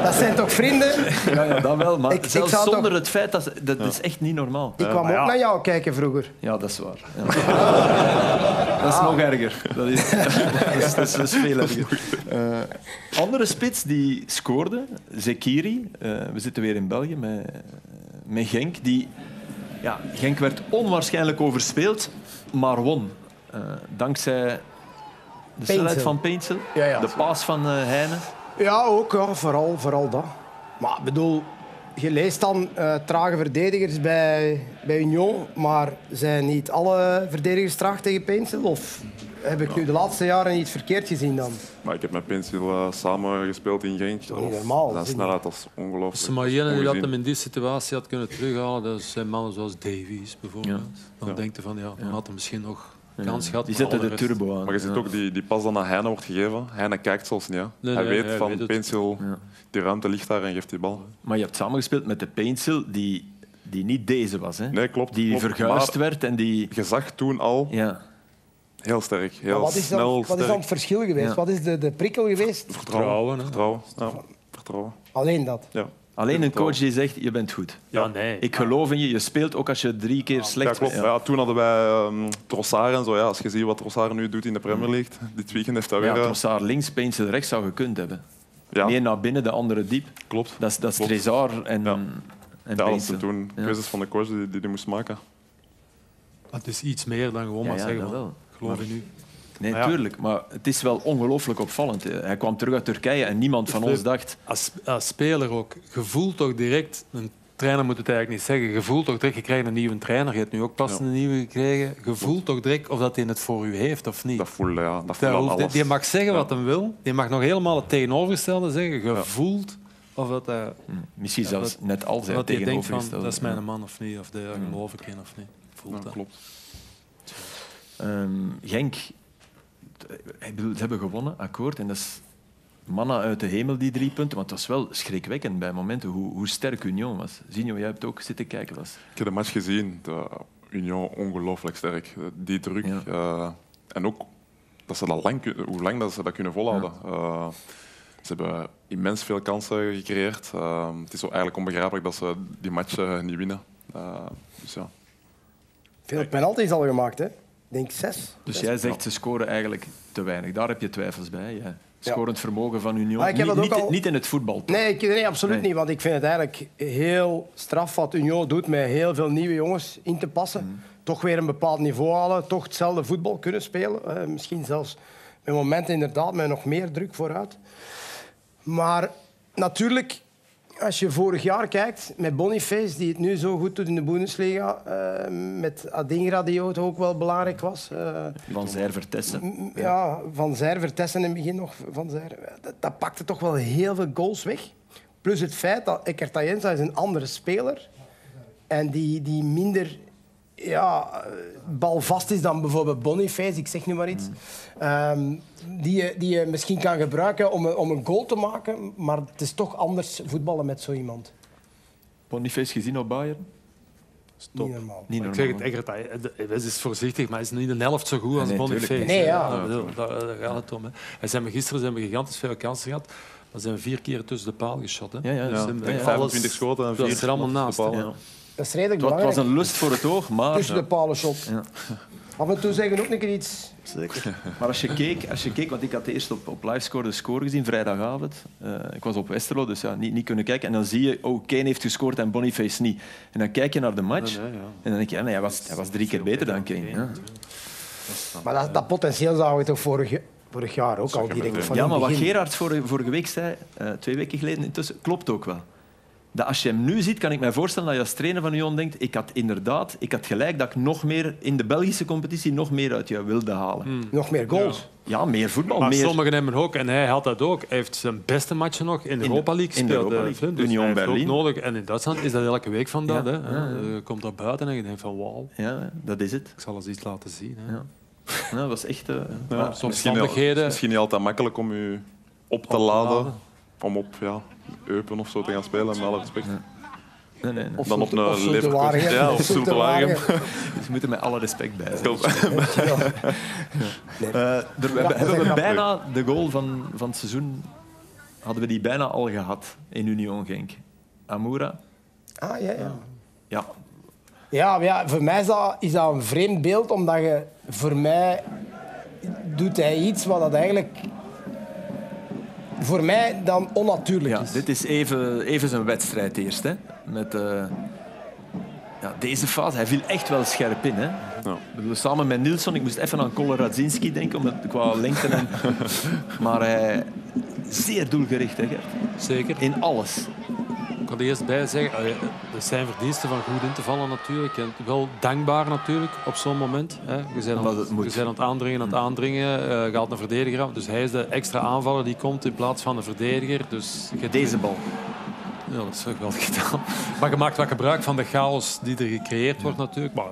Speaker 7: Dat zijn toch vrienden?
Speaker 6: Ja, ja dat wel. Maar
Speaker 7: Ik- ik
Speaker 6: zelfs
Speaker 7: zou toch-
Speaker 6: zonder het feit, dat, ze- dat is echt niet normaal.
Speaker 7: Ik kwam ook
Speaker 6: ja.
Speaker 7: naar jou kijken vroeger.
Speaker 6: Ja, dat is waar. Ja. dat is nog erger. Dat is, dat is, dat is, dat is veel erger. Eh, andere spits die scoorde, Zekiri. eh, we zitten weer in België met, met Genk. Die, ja, Genk werd onwaarschijnlijk overspeeld, maar won. Eh, dankzij de snelheid van Peensel,
Speaker 7: Ja, ja.
Speaker 6: de paas van eh, Heijnen.
Speaker 7: Ja, ook. Ja, vooral, vooral dat. Maar ik bedoel, je leest dan eh, trage verdedigers bij, bij Union, maar zijn niet alle verdedigers traag tegen Peensel? Of heb ik nu de laatste jaren iets verkeerd gezien dan?
Speaker 2: Maar ik heb met Pencil eh, samen gespeeld in Genk. Dat
Speaker 7: niet
Speaker 2: was-
Speaker 7: normaal,
Speaker 2: Dat
Speaker 7: zie je.
Speaker 2: snelheid, dat is ongelooflijk.
Speaker 3: Als maar jenen die dat
Speaker 2: Ongezien.
Speaker 3: hem in die situatie had kunnen terughalen, dat zijn mannen zoals Davies bijvoorbeeld. Dan denkt hij van, ja, dan had hij misschien nog kans
Speaker 6: Eh,
Speaker 3: gehad. maar alle rest-
Speaker 2: Maar je ziet ook die, die pas dan aan Heine wordt gegeven. Heine kijkt zelfs niet. Hè.
Speaker 3: nee,
Speaker 2: hij weet
Speaker 3: hij
Speaker 2: van
Speaker 3: weet het.
Speaker 2: Pencil, die ruimte ligt daar en geeft die bal.
Speaker 6: Maar je hebt samengespeeld met de Peensel die, die niet deze was. Hè?
Speaker 2: Nee, klopt.
Speaker 6: Die
Speaker 2: klopt.
Speaker 6: verguisd
Speaker 2: Maar
Speaker 6: werd en die...
Speaker 2: Je zag toen al
Speaker 6: Ja.
Speaker 2: heel sterk, heel
Speaker 7: Maar wat is
Speaker 2: snel,
Speaker 7: dan, wat is dan
Speaker 2: sterk.
Speaker 7: het verschil geweest?
Speaker 2: Ja.
Speaker 7: Wat is de, de prikkel geweest?
Speaker 2: Vertrouwen. Vertrouwen. Ja. Vertrouwen.
Speaker 7: Alleen dat.
Speaker 2: Ja.
Speaker 6: Alleen een coach die zegt, je bent goed.
Speaker 3: Ja, nee.
Speaker 6: Ik geloof in je, je speelt ook als je drie keer slecht
Speaker 2: Ja, klopt.
Speaker 6: bent.
Speaker 2: Maar Ja, toen hadden wij ehm Trossard en zo. Ja, als je ziet wat Trossard nu doet in de Premier League, dit weekend heeft hij
Speaker 6: Ja,
Speaker 2: weer... eh,
Speaker 6: Trossard links, Peensel rechts zou gekund hebben.
Speaker 2: Ja.
Speaker 6: Meer naar binnen, de andere diep.
Speaker 2: Klopt.
Speaker 6: Dat is, dat is
Speaker 2: Klopt.
Speaker 6: Trezor en, en
Speaker 2: ja, dat
Speaker 6: Peensel.
Speaker 2: ze toen dus-
Speaker 6: Ja.
Speaker 2: keuzes van de coach die die, die moest maken.
Speaker 3: Maar Het is iets meer dan gewoon
Speaker 6: Ja,
Speaker 3: maar
Speaker 6: ja,
Speaker 3: zeggen,
Speaker 6: dat
Speaker 3: man,
Speaker 6: wel.
Speaker 3: geloof
Speaker 6: Maar-
Speaker 3: je nu.
Speaker 6: Nee,
Speaker 3: Maar ja.
Speaker 6: tuurlijk. Maar het is wel ongelooflijk opvallend. Hij kwam terug uit Turkije en niemand van ons dacht...
Speaker 3: Als, als speler ook, je voelt toch direct, een trainer moet het eigenlijk niet zeggen, je voelt toch direct, je krijgt een nieuwe trainer, je hebt nu ook pas een nieuwe gekregen, je voelt toch direct of dat hij het voor u heeft of niet.
Speaker 2: Dat voelde, ja. Dat
Speaker 3: Daar
Speaker 2: voelde aan
Speaker 3: hoeft-
Speaker 2: alles.
Speaker 3: die mag zeggen wat hij wil, die mag nog helemaal het tegenovergestelde zeggen, je voelt of dat eh, hij...
Speaker 6: Misschien
Speaker 3: ja,
Speaker 6: zelfs
Speaker 3: dat-
Speaker 6: net als hij
Speaker 3: dat hij denkt van,
Speaker 6: tegenovergestelde.
Speaker 3: dat is
Speaker 6: Ja.
Speaker 3: mijn man of niet, of daar geloof ik in of niet. Voelt
Speaker 2: Ja,
Speaker 3: dat.
Speaker 2: klopt.
Speaker 6: Ehm, Genk, t- ik bedoel, ze hebben gewonnen, akkoord. En dat is manna uit de hemel, die drie punten. Want het was wel schrikwekkend bij momenten hoe, hoe sterk Union was. Zinho, jij hebt ook zitten kijken. Was.
Speaker 2: Ik heb de match gezien. De Union ongelooflijk sterk. Die druk. eh, en ook dat ze dat lang, kun- hoe lang dat ze dat kunnen volhouden. Eh, ze hebben immens veel kansen gecreëerd. Eh, het is zo eigenlijk onbegrijpelijk dat ze die match eh, niet winnen. Eh, dus ja.
Speaker 7: Veel penalties al gemaakt, hè? Ik denk zes.
Speaker 6: Dus jij zegt ze scoren eigenlijk te weinig. Daar heb je twijfels bij. Jij. Scorend vermogen van Union.
Speaker 7: Maar ik heb
Speaker 6: niet,
Speaker 7: dat ook
Speaker 6: niet,
Speaker 7: al-
Speaker 6: niet in het voetbal. toch?
Speaker 7: Nee, ik, nee absoluut
Speaker 6: Nee.
Speaker 7: niet. Want ik vind het eigenlijk heel straf wat Union doet met heel veel nieuwe jongens in te passen.
Speaker 6: Mhm.
Speaker 7: Toch weer een bepaald niveau halen, toch hetzelfde voetbal kunnen spelen. Eh, misschien zelfs met momenten inderdaad met nog meer druk vooruit. Maar natuurlijk, als je vorig jaar kijkt met Boniface, die het nu zo goed doet in de Bundesliga, eh, met Adingra, die ook wel belangrijk was. eh,
Speaker 6: Van Zijver testen.
Speaker 7: Mm, ja, Van Zijr, Vertessen in het begin nog. Van Zijr, dat, dat pakte toch wel heel veel goals weg. Plus het feit dat Eckert Ayensa is een andere speler. En die, die minder ja, eh, balvast is dan bijvoorbeeld Boniface, ik zeg nu maar iets. Ehm, die, je, die je misschien kan gebruiken om, een- om een goal te maken. Maar het is toch anders voetballen met zo iemand.
Speaker 6: Boniface gezien op Bayern?
Speaker 7: Stop. Niet normaal.
Speaker 6: Niet
Speaker 3: ik
Speaker 6: normaal,
Speaker 3: zeg het,
Speaker 6: hè.
Speaker 3: Eggert, hij, hij- hij is dus voorzichtig, maar hij is niet een helft zo goed als
Speaker 6: Nee,
Speaker 3: Boniface.
Speaker 6: tuurlijk niet.
Speaker 3: hè.
Speaker 6: Nee, ja.
Speaker 3: Ik bedoel, Daar, daar gaat het om. Hè. En zijn we, gisteren zijn we gigantisch veel kansen gehad, maar zijn we vier keer tussen de paal geschot. Hè.
Speaker 6: Ja, ja,
Speaker 3: Dus
Speaker 6: ja.
Speaker 3: ze hebben
Speaker 6: Ja, ja.
Speaker 3: alles-
Speaker 6: 25 schoten en
Speaker 3: het was
Speaker 6: vier
Speaker 3: er allemaal naast.
Speaker 6: tussen de
Speaker 3: hè.
Speaker 6: palen.
Speaker 7: Dat is redelijk
Speaker 6: Het was- het was
Speaker 7: belangrijk.
Speaker 6: een lust voor het oog, maar... eh,
Speaker 7: Tussen de
Speaker 6: Ja.
Speaker 7: palen shot.
Speaker 6: Ja.
Speaker 7: Af en toe zeggen ook een keer iets.
Speaker 6: Zeker. Maar als je keek, als je keek want ik had eerst op, op livescore de score gezien, vrijdagavond. Eh, ik was op Westerlo, dus ja, niet, niet kunnen kijken. En dan zie je, oh, Kane heeft gescoord en Boniface niet. En dan kijk je naar de match
Speaker 8: Nee, nee, ja.
Speaker 6: en dan denk je, ja, nee, hij, was, hij was drie keer beter dan Kane. Ja,
Speaker 7: Maar dat, dat potentieel zagen we toch vorig, vorig jaar ook al direct van
Speaker 6: ja
Speaker 7: in
Speaker 6: maar
Speaker 7: het
Speaker 6: wat
Speaker 7: begin.
Speaker 6: Gerard vorige, vorige week zei, eh, twee weken geleden intussen, klopt ook wel. Dat als je hem nu ziet, kan ik mij voorstellen dat je als trainer van Union denkt, ik had inderdaad, ik had gelijk dat ik nog meer in de Belgische competitie nog meer uit jou wilde halen.
Speaker 7: Nog meer goals.
Speaker 6: Ja, meer voetbal,
Speaker 3: Maar
Speaker 6: Oh, meer...
Speaker 3: sommigen hebben ook, en hij had dat ook. Hij heeft zijn beste matchen nog in de Europa League
Speaker 6: in de
Speaker 3: gespeeld.
Speaker 6: Europa
Speaker 3: eh,
Speaker 6: League.
Speaker 3: Dus
Speaker 6: Union
Speaker 3: hij heeft
Speaker 6: Berlin.
Speaker 3: ook nodig. En in Duitsland is dat elke week van dat.
Speaker 6: Ja,
Speaker 3: hè.
Speaker 6: ja, ja.
Speaker 3: Je komt daar buiten en je denkt van wauw,
Speaker 6: Ja, dat is het.
Speaker 3: ik zal eens iets laten zien. Hè.
Speaker 6: Ja. Ja, dat was echt... eh,
Speaker 2: Ja,
Speaker 6: maar-
Speaker 2: misschien niet al- Misschien niet altijd makkelijk om je op te laden. Om op ja, Eupen of zo te gaan spelen, met alle respect.
Speaker 6: Nee, nee, nee.
Speaker 2: Of Dan op een
Speaker 7: Of Zulte
Speaker 2: Leverkusen.
Speaker 7: Waregem.
Speaker 2: Ja, of
Speaker 7: Of Zulte
Speaker 2: Zulte Waregem.
Speaker 7: Waregem.
Speaker 6: Dus we moeten met alle respect bij zijn.
Speaker 2: Klopt.
Speaker 6: Eh, er- we
Speaker 7: Ja,
Speaker 6: hebben- hebben
Speaker 7: dat is
Speaker 6: we
Speaker 7: een
Speaker 6: bijna de goal van, van het seizoen... Hadden we die bijna al gehad in Union Genk. Amoura.
Speaker 7: Ah, ja, ja.
Speaker 6: Ja,
Speaker 7: Ja, maar ja, voor mij is dat, is dat een vreemd beeld, omdat je voor mij doet hij iets wat dat eigenlijk voor mij dan onnatuurlijk
Speaker 6: ja
Speaker 7: is.
Speaker 6: dit is even, even zijn wedstrijd eerst. Hè. Met eh, ja, deze fase. Hij viel echt wel scherp in. Hè. Ik bedoel, samen met Nilsson, ik moest even aan Koloradzinski denken, omdat, qua lengte. En, maar hij... Zeer doelgericht, hè, Gert?
Speaker 3: Zeker.
Speaker 6: In alles.
Speaker 3: Ik kan er eerst bij zeggen, eh, dat zijn verdiensten van goed in te vallen natuurlijk. En wel dankbaar natuurlijk op zo'n moment. Hè. Je bent
Speaker 6: Omdat
Speaker 3: aan,
Speaker 6: het moet.
Speaker 3: je bent aan het aandringen, aan het aandringen. eh, je haalt een verdediger af. Dus hij is de extra aanvaller die komt in plaats van een verdediger. Dus je hebt-
Speaker 6: Deze bal.
Speaker 3: Ja, dat is ook wel gedaan. Maar je maakt wat gebruik van de chaos die er gecreëerd wordt natuurlijk. Maar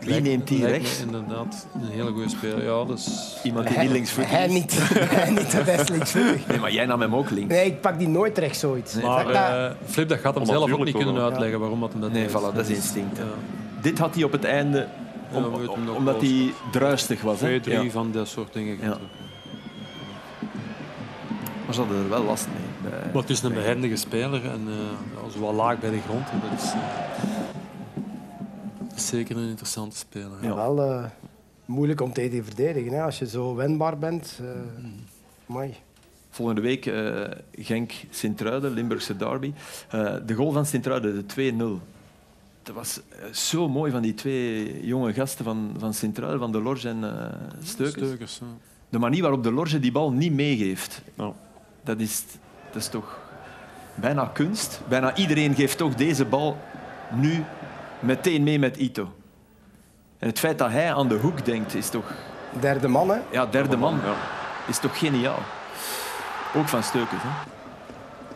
Speaker 6: Wie neemt die
Speaker 3: lijkt me
Speaker 6: rechts?
Speaker 3: Inderdaad, een hele goede speler. Ja, dus- dat is...
Speaker 6: Iemand die niet linksvoetig
Speaker 7: Hij
Speaker 6: is.
Speaker 7: niet. Hij niet de best linksvoetig.
Speaker 6: Nee, maar jij nam hem ook links.
Speaker 7: Nee, ik pak die nooit recht zoiets.
Speaker 3: Maar
Speaker 7: Zeg dat-
Speaker 3: eh, Flip, dat gaat hem zelf ook niet
Speaker 2: Onnatuurlijk
Speaker 3: kunnen
Speaker 2: wel.
Speaker 3: uitleggen waarom dat hem dat
Speaker 6: Nee,
Speaker 3: deed.
Speaker 6: voilà, dat is instinct.
Speaker 3: Ja.
Speaker 6: Dit had hij op het einde, om-
Speaker 3: Ja, we weten hem nog
Speaker 6: omdat
Speaker 3: wel.
Speaker 6: hij druistig was. Hè?
Speaker 3: Twee, drie
Speaker 6: Ja.
Speaker 3: van dat soort dingen.
Speaker 6: Ja. Maar ze hadden er wel last mee. Eh,
Speaker 3: Maar het is een behendige speler en eh, ja, zo wat laag bij de grond. en Dat is, eh, dat is zeker een interessante speler. hè.
Speaker 6: Ja.
Speaker 7: Wel eh, moeilijk om tegen te verdedigen, hè, als je zo wendbaar bent. eh
Speaker 6: Mm.
Speaker 7: amai.
Speaker 6: Volgende week eh, Genk Sint-Truiden, Limburgse derby. Eh, de goal van Sint-Truiden, de 2-0. Dat was eh, zo mooi van die twee jonge gasten van, van Sint-Truiden, van De Lorge en eh Steukens.
Speaker 3: Steukers, ja.
Speaker 6: De manier waarop De Lorge die bal niet meegeeft,
Speaker 2: Ja.
Speaker 6: dat, is, dat is toch bijna kunst. Bijna iedereen geeft toch deze bal nu meteen mee met Ito. En het feit dat hij aan de hoek denkt, is toch...
Speaker 7: Derde man, hè.
Speaker 6: Ja, derde man,
Speaker 2: Ja.
Speaker 6: is toch geniaal. Ook van Steukens, hè?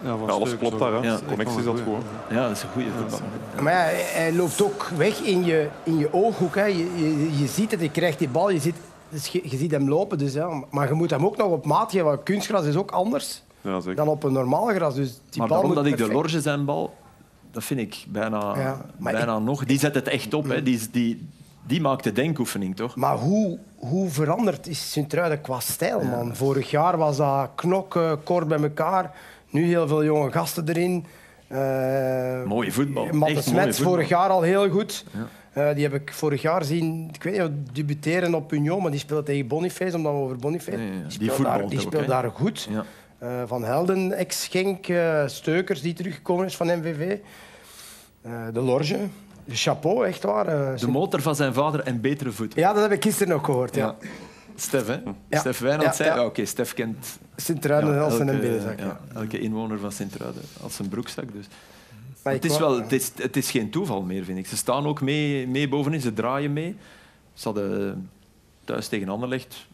Speaker 3: Ja, van
Speaker 2: Ja, alles
Speaker 3: Steukers
Speaker 2: klopt
Speaker 3: ook.
Speaker 2: daar. Hè.
Speaker 6: Ja.
Speaker 2: De Connectie is altijd goed. hè.
Speaker 6: Ja, dat is een goede voetballer.
Speaker 7: Maar ja, hij- hij loopt ook weg in je, in je ooghoek. Hè. Je, je, je ziet het, je krijgt die bal, je ziet, dus je, je ziet hem lopen. Dus, ja. Maar je moet hem ook nog op maat geven, want kunstgras is ook anders
Speaker 2: Ja, zeker.
Speaker 7: dan op een normaal gras. Dus die
Speaker 6: Maar
Speaker 7: bal
Speaker 6: daarom
Speaker 7: moet
Speaker 6: dat ik de
Speaker 7: perfect-
Speaker 6: Lorge zijn bal, dat vind ik bijna,
Speaker 7: Ja, maar Mm.
Speaker 6: bijna nog. Die zet het echt op, hè? Die, die, die maakt de denkoefening, toch?
Speaker 7: Maar hoe, hoe veranderd is Sint-Truiden qua stijl, man? Vorig jaar was dat knokken, kort bij elkaar. Nu heel veel jonge gasten erin. Eh,
Speaker 6: Mooie voetbal. Echt
Speaker 7: Matte
Speaker 6: mooie
Speaker 7: Smets
Speaker 6: voetbal.
Speaker 7: vorig jaar al heel goed. Eh, die heb ik vorig jaar zien, ik weet niet, debuteren op Union, maar die speelde tegen Boniface, omdat we over Boniface...
Speaker 6: Ja, ja, ja. Die
Speaker 7: speelt
Speaker 6: voetbalt
Speaker 7: daar, die
Speaker 6: ook,
Speaker 7: speelt
Speaker 6: hè?
Speaker 7: daar goed.
Speaker 6: Ja.
Speaker 7: Eh, van Helden, ex-Genk, eh, Steukers, die teruggekomen is van MVV. Eh, de Lorge, chapeau, echt waar. eh,
Speaker 6: De motor van zijn vader en betere voeten.
Speaker 7: ja, dat heb ik gisteren nog gehoord, ja.
Speaker 6: Stef, hè?
Speaker 7: Ja.
Speaker 6: Stef Wijnand
Speaker 7: Ja,
Speaker 6: zei...
Speaker 7: ja.
Speaker 6: Ja, Oké, Stef kent
Speaker 7: Sint-Truiden,
Speaker 6: ja,
Speaker 7: Elsen en
Speaker 6: elke-
Speaker 7: Binnenzak.
Speaker 6: ja, elke inwoner van Sint-Truiden als een broekzak. Dus.
Speaker 7: Maar
Speaker 6: Het
Speaker 7: ik
Speaker 6: is,
Speaker 7: wou-
Speaker 6: wel, het, is, het is geen toeval meer, vind ik. Ze staan ook mee, mee bovenin, ze draaien mee. Ze hadden thuis tegen Anderlecht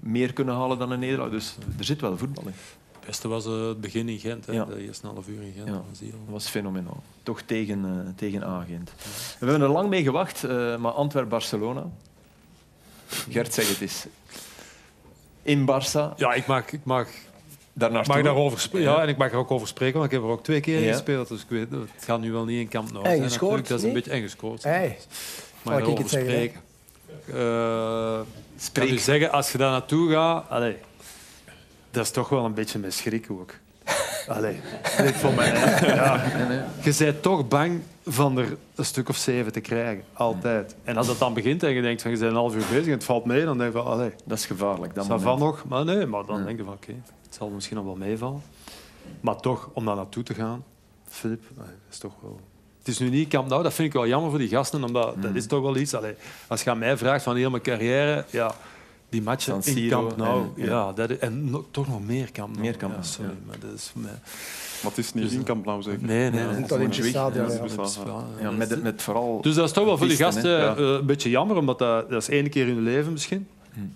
Speaker 6: meer kunnen halen dan een nederlaag. Dus er zit wel voetbal in.
Speaker 3: Het beste was eh, het begin in Gent, hè.
Speaker 6: Ja.
Speaker 3: de eerste half uur in Gent.
Speaker 6: Ja.
Speaker 3: dan zie je al.
Speaker 6: Dat was fenomenaal. Toch tegen, eh tegen Agent. We hebben er lang mee gewacht, eh, maar Antwerp-Barcelona. Gert, zeg het eens. In Barça.
Speaker 3: Ja, ik maak, ik maak
Speaker 6: daarnaartoe.
Speaker 3: Mag ik daarover spreken? Ja, en ik mag er ook over spreken, want ik heb er ook twee keer in
Speaker 6: Ja.
Speaker 3: gespeeld. Dus ik weet, het gaat nu wel niet in kamp Noord.
Speaker 7: En
Speaker 3: zijn
Speaker 7: gescoord,
Speaker 3: natuurlijk. Dat is een
Speaker 7: niet?
Speaker 3: beetje eng gescoord.
Speaker 7: Hey.
Speaker 3: Mag
Speaker 7: Zal
Speaker 3: ik
Speaker 7: ik
Speaker 3: daarover
Speaker 7: het zeggen, hè?
Speaker 3: spreken? Eh, ik kan u zeggen, als je daar naartoe gaat... Allee, dat is toch wel een beetje met schrik ook. Allee, dit voor mij. hè. Ja. Je bent toch bang van er een stuk of zeven te krijgen. Altijd. En als dat dan begint en je denkt van je bent een half uur bezig en het valt mee, dan denk je van allee.
Speaker 6: Dat is gevaarlijk. Dat
Speaker 3: Dat van
Speaker 6: moment.
Speaker 3: nog, maar nee, maar dan denk je van oké, het zal misschien nog wel meevallen. Maar toch, om daar naartoe te gaan, Filip, eh, dat is toch wel... Het is nu niet Camp Nou, dat vind ik wel jammer voor die gasten, omdat
Speaker 6: Mm.
Speaker 3: dat is toch wel iets... Allee, als je aan mij vraagt van heel mijn carrière, ja, die matchen
Speaker 6: San
Speaker 3: in
Speaker 6: Siro
Speaker 3: Camp Nou,
Speaker 6: en-
Speaker 3: ja.
Speaker 6: ja.
Speaker 3: dat is- en no- toch nog meer Camp Nou.
Speaker 6: Meer Camp
Speaker 3: ja,
Speaker 6: Nou,
Speaker 3: sorry,
Speaker 6: ja.
Speaker 3: maar dat is voor mij...
Speaker 2: Maar het is niet in Camp Nou zeker?
Speaker 3: Nee, nee.
Speaker 7: Het Olympisch Stadion, ja.
Speaker 6: Ja, met, met vooral
Speaker 3: Dus dat is toch wel voor die
Speaker 6: artiesten,
Speaker 3: gasten
Speaker 6: hè.
Speaker 3: eh, een beetje jammer, omdat dat, dat is één keer in hun leven misschien.
Speaker 6: Mm.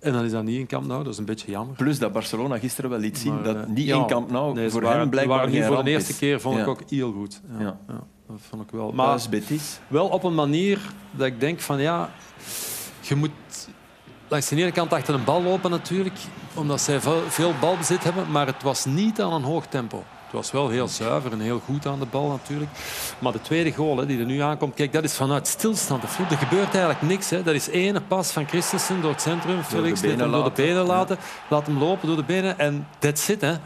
Speaker 3: En dan is dat niet in Camp Nou, dat is een beetje jammer.
Speaker 6: Plus dat Barcelona gisteren wel liet zien
Speaker 3: Maar, eh,
Speaker 6: dat niet
Speaker 3: ja.
Speaker 6: in Camp Nou
Speaker 3: Nee, ze
Speaker 6: voor
Speaker 3: waren-
Speaker 6: hem
Speaker 3: ze
Speaker 6: blijkbaar
Speaker 3: waren hier
Speaker 6: geen
Speaker 3: voor de
Speaker 6: ramp
Speaker 3: eerste
Speaker 6: is.
Speaker 3: keer vond ik
Speaker 6: Ja.
Speaker 3: ook heel goed. Ja,
Speaker 6: Ja.
Speaker 3: ja, dat vond ik wel.
Speaker 6: Maar
Speaker 3: Maar
Speaker 6: is Betis.
Speaker 3: wel op een manier dat ik denk van ja, je moet langs de ene kant achter een bal lopen natuurlijk, omdat zij veel- veel balbezit hebben, maar het was niet aan een hoog tempo. Het was wel heel zuiver en heel goed aan de bal natuurlijk. Maar de tweede goal hè, die er nu aankomt, kijk, dat is vanuit stilstand. De vloed, Er gebeurt eigenlijk niks. Hè. Dat is ene pas van Christensen door het centrum. Felix
Speaker 6: benen
Speaker 3: liet hem door de
Speaker 6: laten.
Speaker 3: benen laten. Laat hem lopen door de benen en that's it. Hè. Het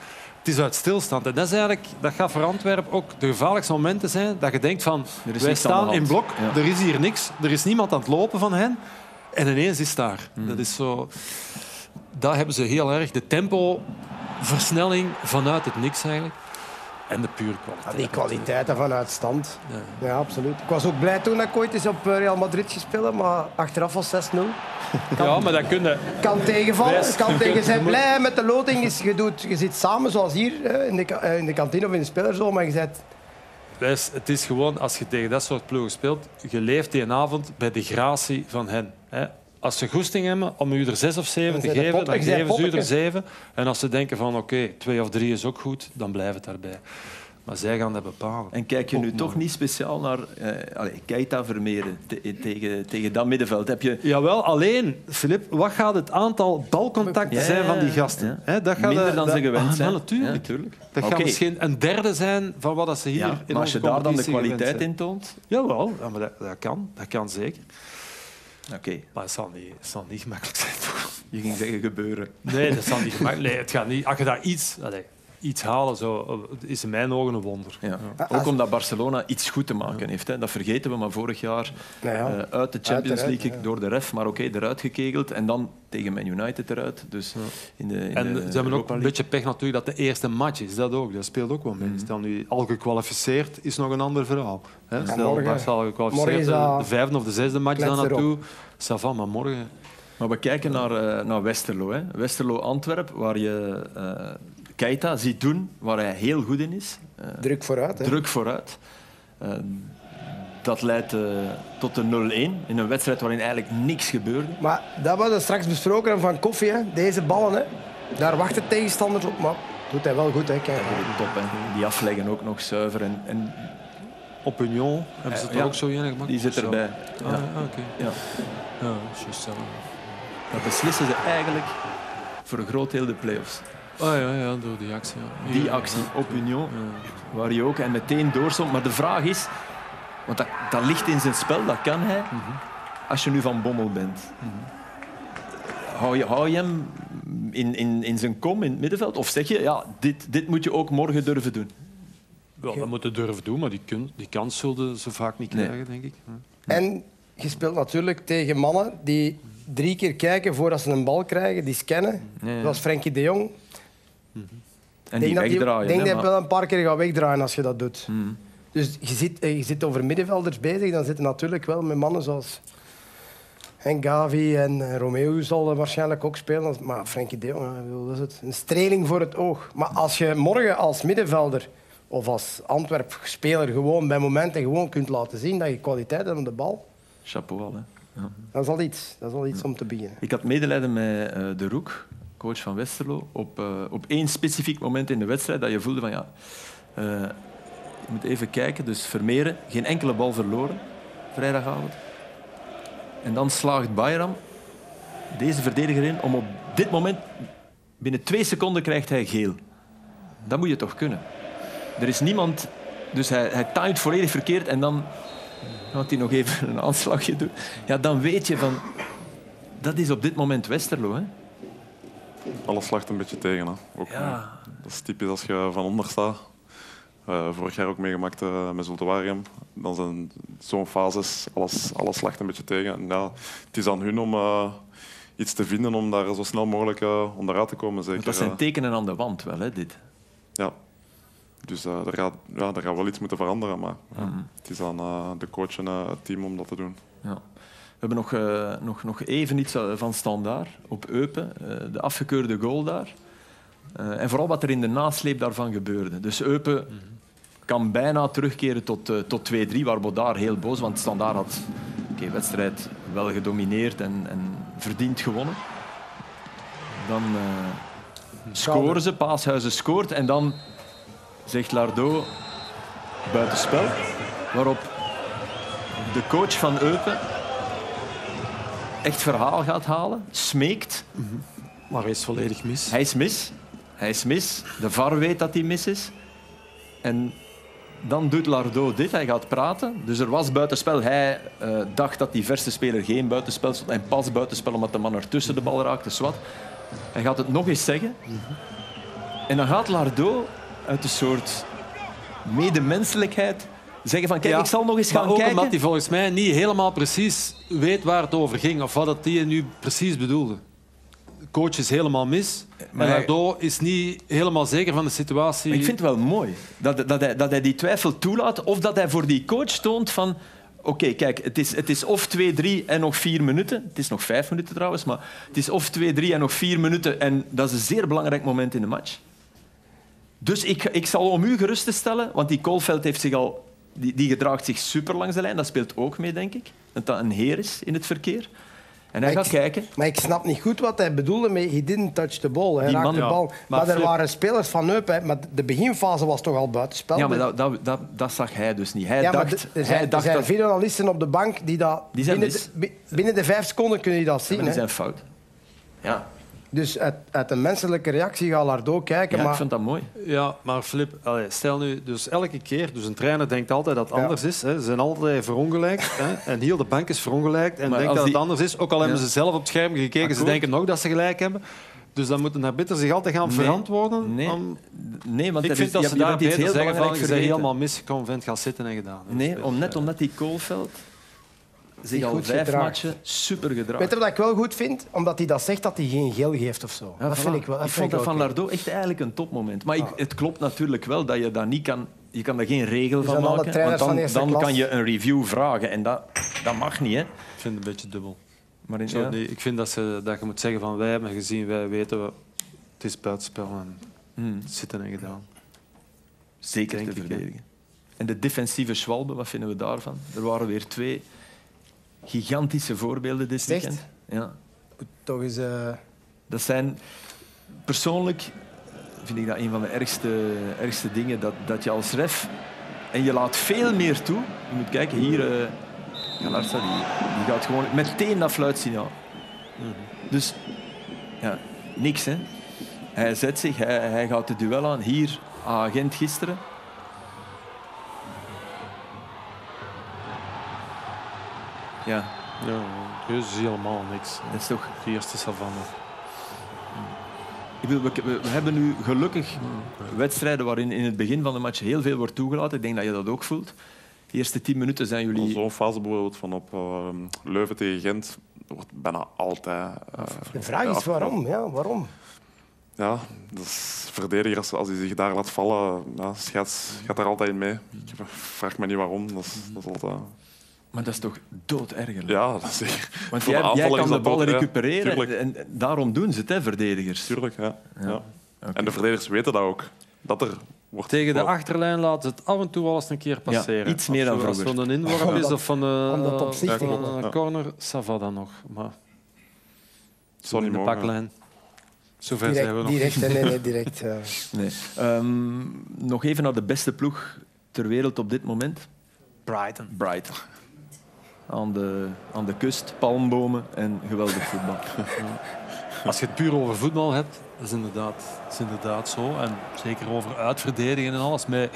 Speaker 3: is uit stilstand. En dat, is eigenlijk, dat gaat voor Antwerpen ook de gevaarlijkste momenten zijn dat je denkt van...
Speaker 6: Er is
Speaker 3: Wij
Speaker 6: niks aan de
Speaker 3: staan
Speaker 6: hand.
Speaker 3: in blok,
Speaker 6: Ja.
Speaker 3: er is hier niks, er is niemand aan het lopen van hen. En ineens is het daar.
Speaker 6: Mm.
Speaker 3: Dat is zo... Daar hebben ze heel erg de tempo, versnelling vanuit het niks eigenlijk. En de pure
Speaker 7: Ja,
Speaker 3: kwaliteit.
Speaker 7: Ah, die kwaliteit daarvan uit stand. Ja, absoluut. Ik was ook blij toen ik ooit eens op eh, Real Madrid gespeeld heb, maar achteraf was 6-0.
Speaker 3: Ja, maar dat kunnen.
Speaker 7: Kan tegenvallen,
Speaker 3: Best.
Speaker 7: kan tegen zijn. Blij met de loting is, je, doet, je zit samen zoals hier eh, in de, ka- eh, in de kantine of in de spelerzoom, maar je zet
Speaker 3: Wijs, het is gewoon, als je tegen dat soort ploegen speelt, je leeft die avond bij de gratie van hen. Hè. Als ze goesting hebben om u er zes of zeven
Speaker 7: Dan
Speaker 3: te
Speaker 7: zijn dat
Speaker 3: geven, dan
Speaker 7: poppetjes, hè,
Speaker 3: geven ze u er
Speaker 7: poppetjes.
Speaker 3: zeven. En als ze denken van oké, twee of drie is ook goed, dan blijft het daarbij. Maar zij gaan dat bepalen.
Speaker 6: En kijk je
Speaker 3: Ook
Speaker 6: nu toch
Speaker 3: mooi.
Speaker 6: niet speciaal naar eh allee, Keita Vermeeren te- eh, tegen, tegen dat middenveld? Heb je
Speaker 3: Jawel, alleen, Filip, wat gaat het aantal balcontacten
Speaker 6: Ja,
Speaker 3: zijn van die
Speaker 6: ja,
Speaker 3: gasten?
Speaker 6: ja.
Speaker 3: Hè, dat gaat
Speaker 6: minder
Speaker 3: dat-
Speaker 6: dan
Speaker 3: dat-
Speaker 6: ze gewend
Speaker 3: Ah,
Speaker 6: zijn?
Speaker 3: wel, natuurlijk.
Speaker 6: Ja, natuurlijk.
Speaker 3: Dat gaat
Speaker 6: Oké.
Speaker 3: misschien een derde zijn van wat dat ze hier
Speaker 6: Ja,
Speaker 3: in
Speaker 6: maar als
Speaker 3: onze
Speaker 6: je daar dan de
Speaker 3: competitie gewend
Speaker 6: kwaliteit
Speaker 3: zijn.
Speaker 6: in toont...
Speaker 3: Jawel, ja, maar dat, dat kan. Dat kan zeker.
Speaker 6: Oké,
Speaker 3: Maar het zal niet, het zal niet gemakkelijk zijn. toch?
Speaker 6: je ging zeggen gebeuren.
Speaker 3: Nee, dat zal niet gemakkelijk Nee, het gaat niet. Als je daar iets, allee, iets halen, zo, eh, het is in mijn ogen een wonder.
Speaker 6: Ja. Ook omdat Barcelona iets goed te maken heeft. Hè. Dat vergeten we, maar vorig jaar
Speaker 7: Nou ja,
Speaker 6: eh, uit de Champions
Speaker 7: uiteraard,
Speaker 6: League
Speaker 7: ja.
Speaker 6: door de ref, maar oké, eruit gekegeld. En dan tegen Man United eruit. Dus in de, in
Speaker 3: En
Speaker 6: de
Speaker 3: ze hebben ook
Speaker 6: Europa
Speaker 3: een
Speaker 6: League.
Speaker 3: beetje pech natuurlijk dat de eerste match is. Dat ook, dat speelt ook wel mee. Stel nu al gekwalificeerd is nog een ander verhaal. Hè?
Speaker 7: Ja,
Speaker 3: Stel
Speaker 7: morgen-
Speaker 3: Barca al
Speaker 7: morgen
Speaker 3: gekwalificeerd,
Speaker 7: is dat-
Speaker 3: de vijfde of de zesde match daar
Speaker 7: Klets erop.
Speaker 3: naartoe. Ça va, maar morgen...
Speaker 6: Maar we kijken naar, eh, naar Westerlo. Hè. Westerlo Antwerp, waar je eh Keita ziet doen waar hij heel goed in is. Eh,
Speaker 7: druk vooruit. Hè.
Speaker 6: druk vooruit. Eh, dat leidt eh, tot de 0-1 in een wedstrijd waarin eigenlijk niks gebeurde.
Speaker 7: Maar dat was het straks besproken van koffie, hè. deze ballen. Hè. Daar wachten tegenstanders op, maar doet hij wel goed. Hè. Kijk,
Speaker 6: Top, hè. Die afleggen ook nog zuiver. En, en
Speaker 3: Op Union hebben ze het
Speaker 6: Eh, ja.
Speaker 3: ook zo in gemaakt.
Speaker 6: die zit
Speaker 3: Zo.
Speaker 6: erbij.
Speaker 3: Ah,
Speaker 6: Ja.
Speaker 3: ja, oké.
Speaker 6: Ja.
Speaker 3: Ja, juist, ja.
Speaker 6: Dat beslissen ze eigenlijk voor een groot deel de play-offs.
Speaker 3: Ah, ja, ja, door die actie. Ja.
Speaker 6: Die
Speaker 3: Ja.
Speaker 6: actie op Union,
Speaker 3: Ja.
Speaker 6: waar je ook en meteen doorstond. Maar de vraag is, want dat, dat ligt in zijn spel, dat kan hij.
Speaker 3: Mhm.
Speaker 6: Als je nu van Bommel bent, hou, je, hou je hem in, in, in zijn kom in het middenveld? Of zeg je, ja, dit, dit moet je ook morgen durven doen?
Speaker 3: Wel, dat moeten durven doen, maar die, kun- die kans zullen ze vaak niet
Speaker 6: Nee.
Speaker 3: krijgen, denk ik.
Speaker 7: En je speelt natuurlijk tegen mannen die drie keer kijken voordat ze een bal krijgen, die scannen.
Speaker 6: Ja, ja.
Speaker 7: Zoals Frenkie de Jong.
Speaker 6: En
Speaker 7: Ik
Speaker 6: die wegdraaien.
Speaker 7: Ik denk
Speaker 6: hè, maar-
Speaker 7: dat
Speaker 6: Hmm.
Speaker 7: hij wel een paar keer gaat wegdraaien als je dat doet. Dus je zit, eh, je zit over middenvelders bezig, dan zitten natuurlijk wel met mannen zoals en Gavi en eh, Romeo zal er waarschijnlijk ook spelen. Maar Frenkie de Jong, eh, ik bedoel, dat is het. Een streling voor het oog. Maar als je morgen als middenvelder of als Antwerp-speler gewoon bij momenten gewoon kunt laten zien dat je kwaliteit hebt op de bal,
Speaker 6: Chapeau al, hè.
Speaker 7: dat is al iets. Dat is al iets om te beginnen.
Speaker 6: Ik had medelijden met eh, De Roek, coach van Westerlo, op, eh, op één specifiek moment in de wedstrijd dat je voelde van ja, eh, je moet even kijken, dus Vermeeren, geen enkele bal verloren, vrijdagavond. En dan slaagt Bayram deze verdediger in om op dit moment Binnen twee seconden krijgt hij geel. Dat moet je toch kunnen. Er is niemand... Dus hij, hij timed volledig verkeerd en dan had hij nog even een aanslagje doen. Ja, dan weet je van... Dat is op dit moment Westerlo, hè.
Speaker 2: Alles slacht een beetje tegen. Hè. Ook, eh,
Speaker 6: Ja.
Speaker 2: Dat is typisch als je van onder staat. Eh, vorig jaar ook meegemaakt eh, met Zultuarium. Dan zijn zo'n fases, alles, alles slacht een beetje tegen. En ja, het is aan hun om eh, iets te vinden om daar zo snel mogelijk eh, onderuit te komen. Zeker,
Speaker 6: Want dat
Speaker 2: eh.
Speaker 6: zijn tekenen aan de wand wel, hè, dit.
Speaker 2: Ja. Dus eh er, gaat, ja, er gaat wel iets moeten veranderen, maar ja, het is aan eh, de coach en eh, het team om dat te doen.
Speaker 6: Ja. We hebben nog, eh, nog, nog even iets eh, van standaard op Eupen. Eh, de afgekeurde goal daar. Eh, en vooral wat er in de nasleep daarvan gebeurde. Dus Eupen kan bijna terugkeren tot, eh, tot 2-3, waar Bodaar heel boos want standaard had oké, wedstrijd wel gedomineerd en, en verdiend gewonnen. Dan eh, scoren ze, Paashuizen scoort en dan zegt Lardo buitenspel. Waarop de coach van Eupen echt verhaal gaat halen, smeekt.
Speaker 12: Maar hij is volledig mis.
Speaker 6: Hij is mis. Hij is mis. De VAR weet dat hij mis is. En dan doet Lardo dit. Hij gaat praten. Dus er was buitenspel. Hij eh, dacht dat die verse speler geen buitenspel stond. En pas buitenspel omdat de man ertussen de bal raakte. Zwat. Hij gaat het nog eens zeggen. En dan gaat Lardo uit een soort medemenselijkheid zeggen van kijk,
Speaker 12: Ja,
Speaker 6: ik zal nog eens
Speaker 12: maar
Speaker 6: gaan
Speaker 12: ook
Speaker 6: kijken.
Speaker 12: omdat hij volgens mij niet helemaal precies weet waar het over ging of wat dat hij nu precies bedoelde. De coach is helemaal mis,
Speaker 6: Maar
Speaker 12: maar
Speaker 6: hij-
Speaker 12: Lardo is niet helemaal zeker van de situatie.
Speaker 6: Maar ik vind het wel mooi dat, dat, hij, dat hij die twijfel toelaat of dat hij voor die coach toont van... Oké, kijk, het is, het is of 2-3 en nog vier minuten. Het is nog vijf minuten trouwens, maar het is of 2-3 en nog vier minuten. En dat is een zeer belangrijk moment in de match. Dus ik, ik zal om u gerust te stellen, want die Koolveld heeft zich al... Die, die gedraagt zich super langs de lijn. Dat speelt ook mee, denk ik. Dat dat een heer is in het verkeer. En hij
Speaker 7: Maar
Speaker 6: gaat
Speaker 7: ik-
Speaker 6: kijken.
Speaker 7: Maar ik snap niet goed wat hij bedoelde met he didn't touch the ball. Hij
Speaker 6: Die
Speaker 7: raakte
Speaker 6: man-
Speaker 7: de
Speaker 6: ja.
Speaker 7: bal.
Speaker 6: Maar
Speaker 7: Maar, er
Speaker 6: Flip-
Speaker 7: waren spelers van Eupen, maar de beginfase was toch al buitenspel.
Speaker 6: Ja, maar dat, dat, dat, dat zag hij dus niet. Hij
Speaker 7: Ja, maar
Speaker 6: dacht,
Speaker 7: d- er
Speaker 6: hij
Speaker 7: zijn, er
Speaker 6: dacht
Speaker 7: zijn
Speaker 6: dat...
Speaker 7: veel analisten op de bank die dat
Speaker 6: Die zijn
Speaker 7: binnen, de,
Speaker 6: mis.
Speaker 7: bi- binnen de vijf seconden kunnen die dat zien.
Speaker 6: Dat is
Speaker 7: hè.
Speaker 6: zijn fout. Ja,
Speaker 7: Dus uit, uit een menselijke reactie gaat Lardo kijken.
Speaker 6: Ja,
Speaker 7: maar
Speaker 6: ik vind dat mooi.
Speaker 8: Ja, maar Flip, allee, stel nu, dus elke keer, dus een trainer denkt altijd dat het anders is. Hè. Ze zijn altijd verongelijkt. Hè. En heel de bank is verongelijkt en
Speaker 6: Maar
Speaker 8: denkt
Speaker 6: als
Speaker 8: dat
Speaker 6: die-
Speaker 8: het anders is. Ook al hebben
Speaker 6: Ja.
Speaker 8: ze zelf op het scherm gekeken, ze
Speaker 6: Akkoord.
Speaker 8: denken nog dat ze gelijk hebben. Dus dan moeten naar bitter zich altijd gaan
Speaker 6: Nee.
Speaker 8: verantwoorden.
Speaker 6: Nee.
Speaker 8: om-
Speaker 6: Nee, want
Speaker 8: ik
Speaker 6: er
Speaker 8: vind
Speaker 6: is,
Speaker 8: dat
Speaker 6: je-
Speaker 8: ze
Speaker 6: je
Speaker 8: daar
Speaker 6: bent iets
Speaker 8: beter zeggen van,
Speaker 6: heel
Speaker 8: je
Speaker 6: belangrijks
Speaker 8: bent
Speaker 6: vergeten.
Speaker 8: helemaal misgekomen, vent, gaan zitten en gedaan.
Speaker 6: Nee, om, net omdat die Koolveld zich
Speaker 7: Zich
Speaker 6: al
Speaker 7: goed
Speaker 6: vijf
Speaker 7: gedraagt.
Speaker 6: matchen super
Speaker 7: Weet
Speaker 6: gedraagt.
Speaker 7: je wat ik wel goed vind? Omdat hij dat zegt dat hij geen geel geeft of zo.
Speaker 6: Ja,
Speaker 7: dat
Speaker 6: voilà.
Speaker 7: vind ik wel. Dat
Speaker 6: ik vond
Speaker 7: vind
Speaker 6: dat van
Speaker 7: ik Ah. wel oké.
Speaker 6: Lardo echt eigenlijk een topmoment. Maar ik- het klopt natuurlijk wel dat je daar niet kan... Je kan daar geen regel
Speaker 7: Dus
Speaker 6: van
Speaker 7: aan alle
Speaker 6: maken. Want
Speaker 7: trainers van
Speaker 6: dan,
Speaker 7: eerste
Speaker 6: dan
Speaker 7: klas.
Speaker 6: kan je een review vragen. En dat, dat mag niet, hè.
Speaker 12: Ik vind het een beetje dubbel.
Speaker 6: Maar in,
Speaker 12: Zo,
Speaker 6: ja.
Speaker 12: nee, ik vind dat, ze, dat je moet zeggen van wij hebben gezien, wij weten we, het is buitenspel en
Speaker 6: Hmm.
Speaker 12: zitten en gedaan.
Speaker 6: Zeker
Speaker 12: Denk
Speaker 6: te
Speaker 12: ik, hè.
Speaker 6: verdedigen. En de defensieve Schwalbe, wat vinden we daarvan? Er waren weer twee gigantische voorbeelden dit
Speaker 7: Echt?
Speaker 6: weekend. Ja.
Speaker 7: Toch is. eh,
Speaker 6: Dat zijn persoonlijk vind ik dat een van de ergste, ergste dingen dat, dat je als ref en je laat veel meer toe. Je moet kijken hier, eh Galarza, die, die gaat gewoon meteen dat fluitsignaal. Dus ja, niks hè. Hij zet zich, hij, hij gaat het duel aan. Hier, aan agent gisteren. Ja,
Speaker 12: Ja, dus helemaal niks.
Speaker 6: dat is toch
Speaker 12: De eerste savanne.
Speaker 6: Ik bedoel, we, we- we hebben nu gelukkig wedstrijden waarin in het begin van de match heel veel wordt toegelaten. Ik denk dat je dat ook voelt. De eerste tien minuten zijn jullie...
Speaker 2: Zo'n fase bijvoorbeeld van op eh, Leuven tegen Gent wordt bijna altijd... eh,
Speaker 7: de vraag is
Speaker 2: afgekeurd.
Speaker 7: waarom? Ja, waarom?
Speaker 2: Ja, dus verdedigers, als hij zich daar laat vallen, ja, scheids gaat daar altijd in mee. Ik vraag me niet waarom. Dat is, dat is altijd...
Speaker 6: Maar dat is toch doodergerlijk?
Speaker 2: Ja, dat is zeker.
Speaker 6: Want
Speaker 2: Voor de
Speaker 6: jij, jij
Speaker 2: aanvaller
Speaker 6: kan
Speaker 2: is
Speaker 6: de
Speaker 2: dat
Speaker 6: bal
Speaker 2: dood, ja.
Speaker 6: recupereren.
Speaker 2: Tuurlijk.
Speaker 6: en en daarom doen ze het, hè, verdedigers.
Speaker 2: Tuurlijk, ja. ja.
Speaker 6: Oké.
Speaker 2: En de verdedigers weten dat ook. Dat er wordt
Speaker 12: Tegen de
Speaker 2: wordt-
Speaker 12: achterlijn laten ze het af en toe wel eens een keer passeren.
Speaker 6: iets meer dan
Speaker 12: Als zo- als
Speaker 6: vroeger.
Speaker 12: het een inworp is
Speaker 7: Omdat-
Speaker 12: of van een,
Speaker 7: omdat op zich
Speaker 12: van
Speaker 7: tegen-
Speaker 12: een
Speaker 2: Ja.
Speaker 12: corner, ça va dan nog. Maar
Speaker 2: Het zou
Speaker 12: in
Speaker 2: niet
Speaker 12: de
Speaker 2: mogen.
Speaker 12: baklijn. Zover zijn we
Speaker 7: Direct,
Speaker 12: nog.
Speaker 7: direct hè, nee, nee, direct. eh. ja.
Speaker 6: Nee. Ehm, nog even naar de beste ploeg ter wereld op dit moment.
Speaker 12: Brighton.
Speaker 6: Brighton. Aan de, aan de kust, palmbomen en geweldig voetbal.
Speaker 3: Als je het puur over voetbal hebt, dat is inderdaad, dat is inderdaad zo. En zeker over uitverdedigen en alles. Met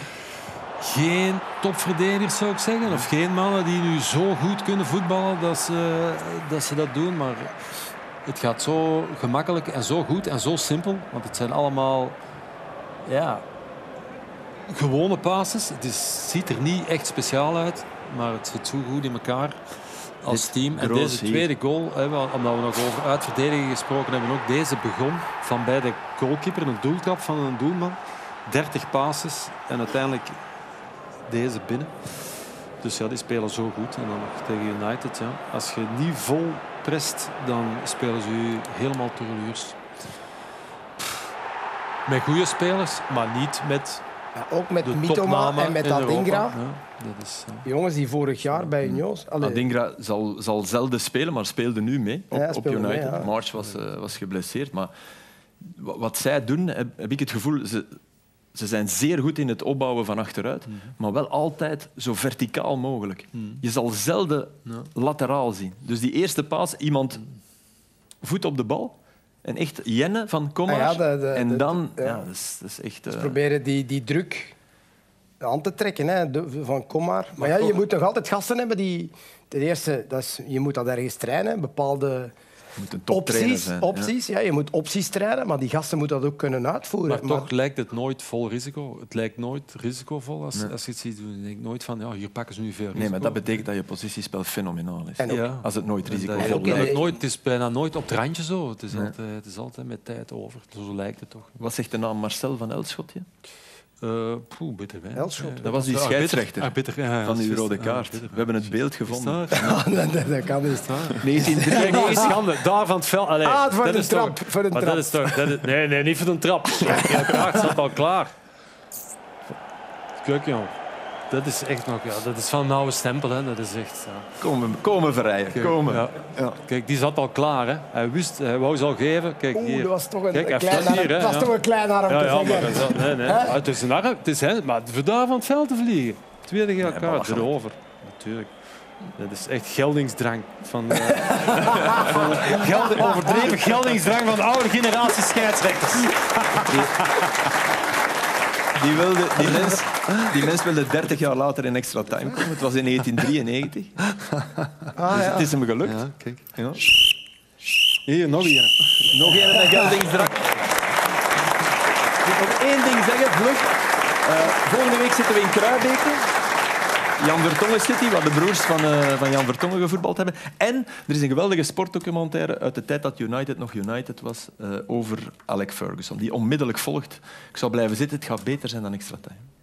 Speaker 3: geen topverdedigers zou ik zeggen. Of geen mannen die nu zo goed kunnen voetballen dat ze, dat, ze dat doen. Maar het gaat zo gemakkelijk en zo goed en zo simpel. Want het zijn allemaal ja, gewone passes. Het is, ziet er niet echt speciaal uit, maar het zit zo goed in elkaar als
Speaker 6: Dit
Speaker 3: team. En
Speaker 6: Broos
Speaker 3: deze
Speaker 6: hier.
Speaker 3: tweede goal, hè, wel, omdat we nog over uitverdedigen gesproken hebben, ook deze begon van bij de goalkeeper, een doeltrap van een doelman. 30 passes en uiteindelijk deze binnen. Dus ja, die spelen zo goed. En dan nog tegen United. Ja. Als je niet vol prest, dan spelen ze je helemaal toerluurs. Met goede spelers, maar niet met.
Speaker 7: ook met
Speaker 3: de
Speaker 7: Mitoma
Speaker 3: topnamen
Speaker 7: en met
Speaker 3: in Europa.
Speaker 7: Adingra.
Speaker 3: Ja, dat is, eh,
Speaker 7: Jongens die vorig jaar bij Unions... Allee,
Speaker 6: Adingra zal, zal zelden spelen, maar speelde nu mee op,
Speaker 7: Ja, hij
Speaker 6: op
Speaker 7: speelde
Speaker 6: United.
Speaker 7: mee, ja.
Speaker 6: March was, eh, was geblesseerd. Maar wa- wat zij doen, heb, heb ik het gevoel... Ze, ze zijn zeer goed in het opbouwen van achteruit, maar wel altijd zo verticaal mogelijk. Je zal zelden lateraal zien. Dus die eerste paas, iemand voet op de bal en echt jennen van kom
Speaker 7: Ah ja,
Speaker 6: maar.
Speaker 7: de- de- de-
Speaker 6: en dan...
Speaker 7: ja. Dus
Speaker 6: ja. dat, is, dat is echt...
Speaker 7: Ze
Speaker 6: eh,
Speaker 7: proberen die, die druk aan te trekken, hè, de- van kom maar. Maar ja, je moet nog altijd gasten hebben die... Ten eerste, dat is, je moet dat ergens trainen, bepaalde
Speaker 6: moet een toptrainer
Speaker 7: opties.
Speaker 6: zijn, ja.
Speaker 7: opties ja. je moet opties trainen, maar die gasten moeten dat ook kunnen uitvoeren.
Speaker 3: Maar toch
Speaker 7: Maar-
Speaker 3: lijkt het nooit vol risico. Het lijkt nooit risicovol als, als je het ziet doen. Je denkt nooit van, ja, hier pakken ze nu veel risico.
Speaker 6: Nee, maar dat betekent dat je positiespel fenomenaal is.
Speaker 3: En ook- Ja.
Speaker 6: Als het nooit risico
Speaker 3: Dat-
Speaker 6: is.
Speaker 3: dat het nooit, het is bijna nooit op het randje zo. Het is, altijd, het is altijd met tijd over. Zo lijkt het toch.
Speaker 6: Wat zegt de naam Marcel van Elschot? ja?
Speaker 3: Eh poeh, bitter wijn.
Speaker 6: Elschot. Dat
Speaker 3: Ah,
Speaker 6: was die scheidsrechter van die
Speaker 8: Ah,
Speaker 6: rode kaart. We hebben het beeld gevonden.
Speaker 7: dat, dat- dat kan niet.
Speaker 3: 1993. Schande, daar van het veld. Allee,
Speaker 7: Ah, voor
Speaker 3: dat
Speaker 7: de
Speaker 3: is
Speaker 7: trap,
Speaker 3: toch-
Speaker 7: voor de
Speaker 3: maar
Speaker 7: trap.
Speaker 3: Dat is toch, dat is- nee, nee, niet voor de trap. De kaart staat al klaar. Kijk, jong. Dat is echt nog... Ja, dat is van een oude stempel, hè. Dat is echt... Ja.
Speaker 6: Komen, komen verrijden.
Speaker 3: Kijk,
Speaker 6: Komen.
Speaker 3: ja. Kijk, die zat al klaar, hè. Hij wist, hij wou ze al geven. Kijk,
Speaker 7: Oeh,
Speaker 3: hier.
Speaker 7: dat was toch een,
Speaker 3: Kijk,
Speaker 7: een
Speaker 3: hij
Speaker 7: klein
Speaker 3: staat
Speaker 7: arm.
Speaker 3: hier, hè,
Speaker 7: dat was
Speaker 3: ja.
Speaker 7: toch een klein arm
Speaker 3: Ja,
Speaker 7: te
Speaker 3: ja, maar
Speaker 7: zeggen.
Speaker 3: dat, dat- nee, nee.
Speaker 7: Hè?
Speaker 3: Ah, het is een arm. Het is, hè, maar voor daar van het veld te vliegen. Tweede gele kaart,
Speaker 6: belachelijk.
Speaker 3: erover. Natuurlijk. Dat is echt geldingsdrang. Van, eh, van geld- overdreven geldingsdrang van de oude generatie scheidsrechters.
Speaker 6: Die, wilde,
Speaker 8: Ah.
Speaker 6: die, mens, die mens wilde 30 jaar later in extra time komen. Het was in 1993. Dus het is hem gelukt.
Speaker 8: Ah, Ja, kijk.
Speaker 6: Ja.
Speaker 3: Hier, nog een.
Speaker 6: Nog één met geldingsdrang. Ik wil één ding zeggen, vlug. Eh, volgende week zitten we in Kruibeke. Jan Vertongen City, waar de broers van, eh, van Jan Vertongen gevoetbald hebben. En er is een geweldige sportdocumentaire uit de tijd dat United nog United was, eh, over Alec Ferguson, die onmiddellijk volgt. Ik zou blijven zitten, het gaat beter zijn dan extra tijd.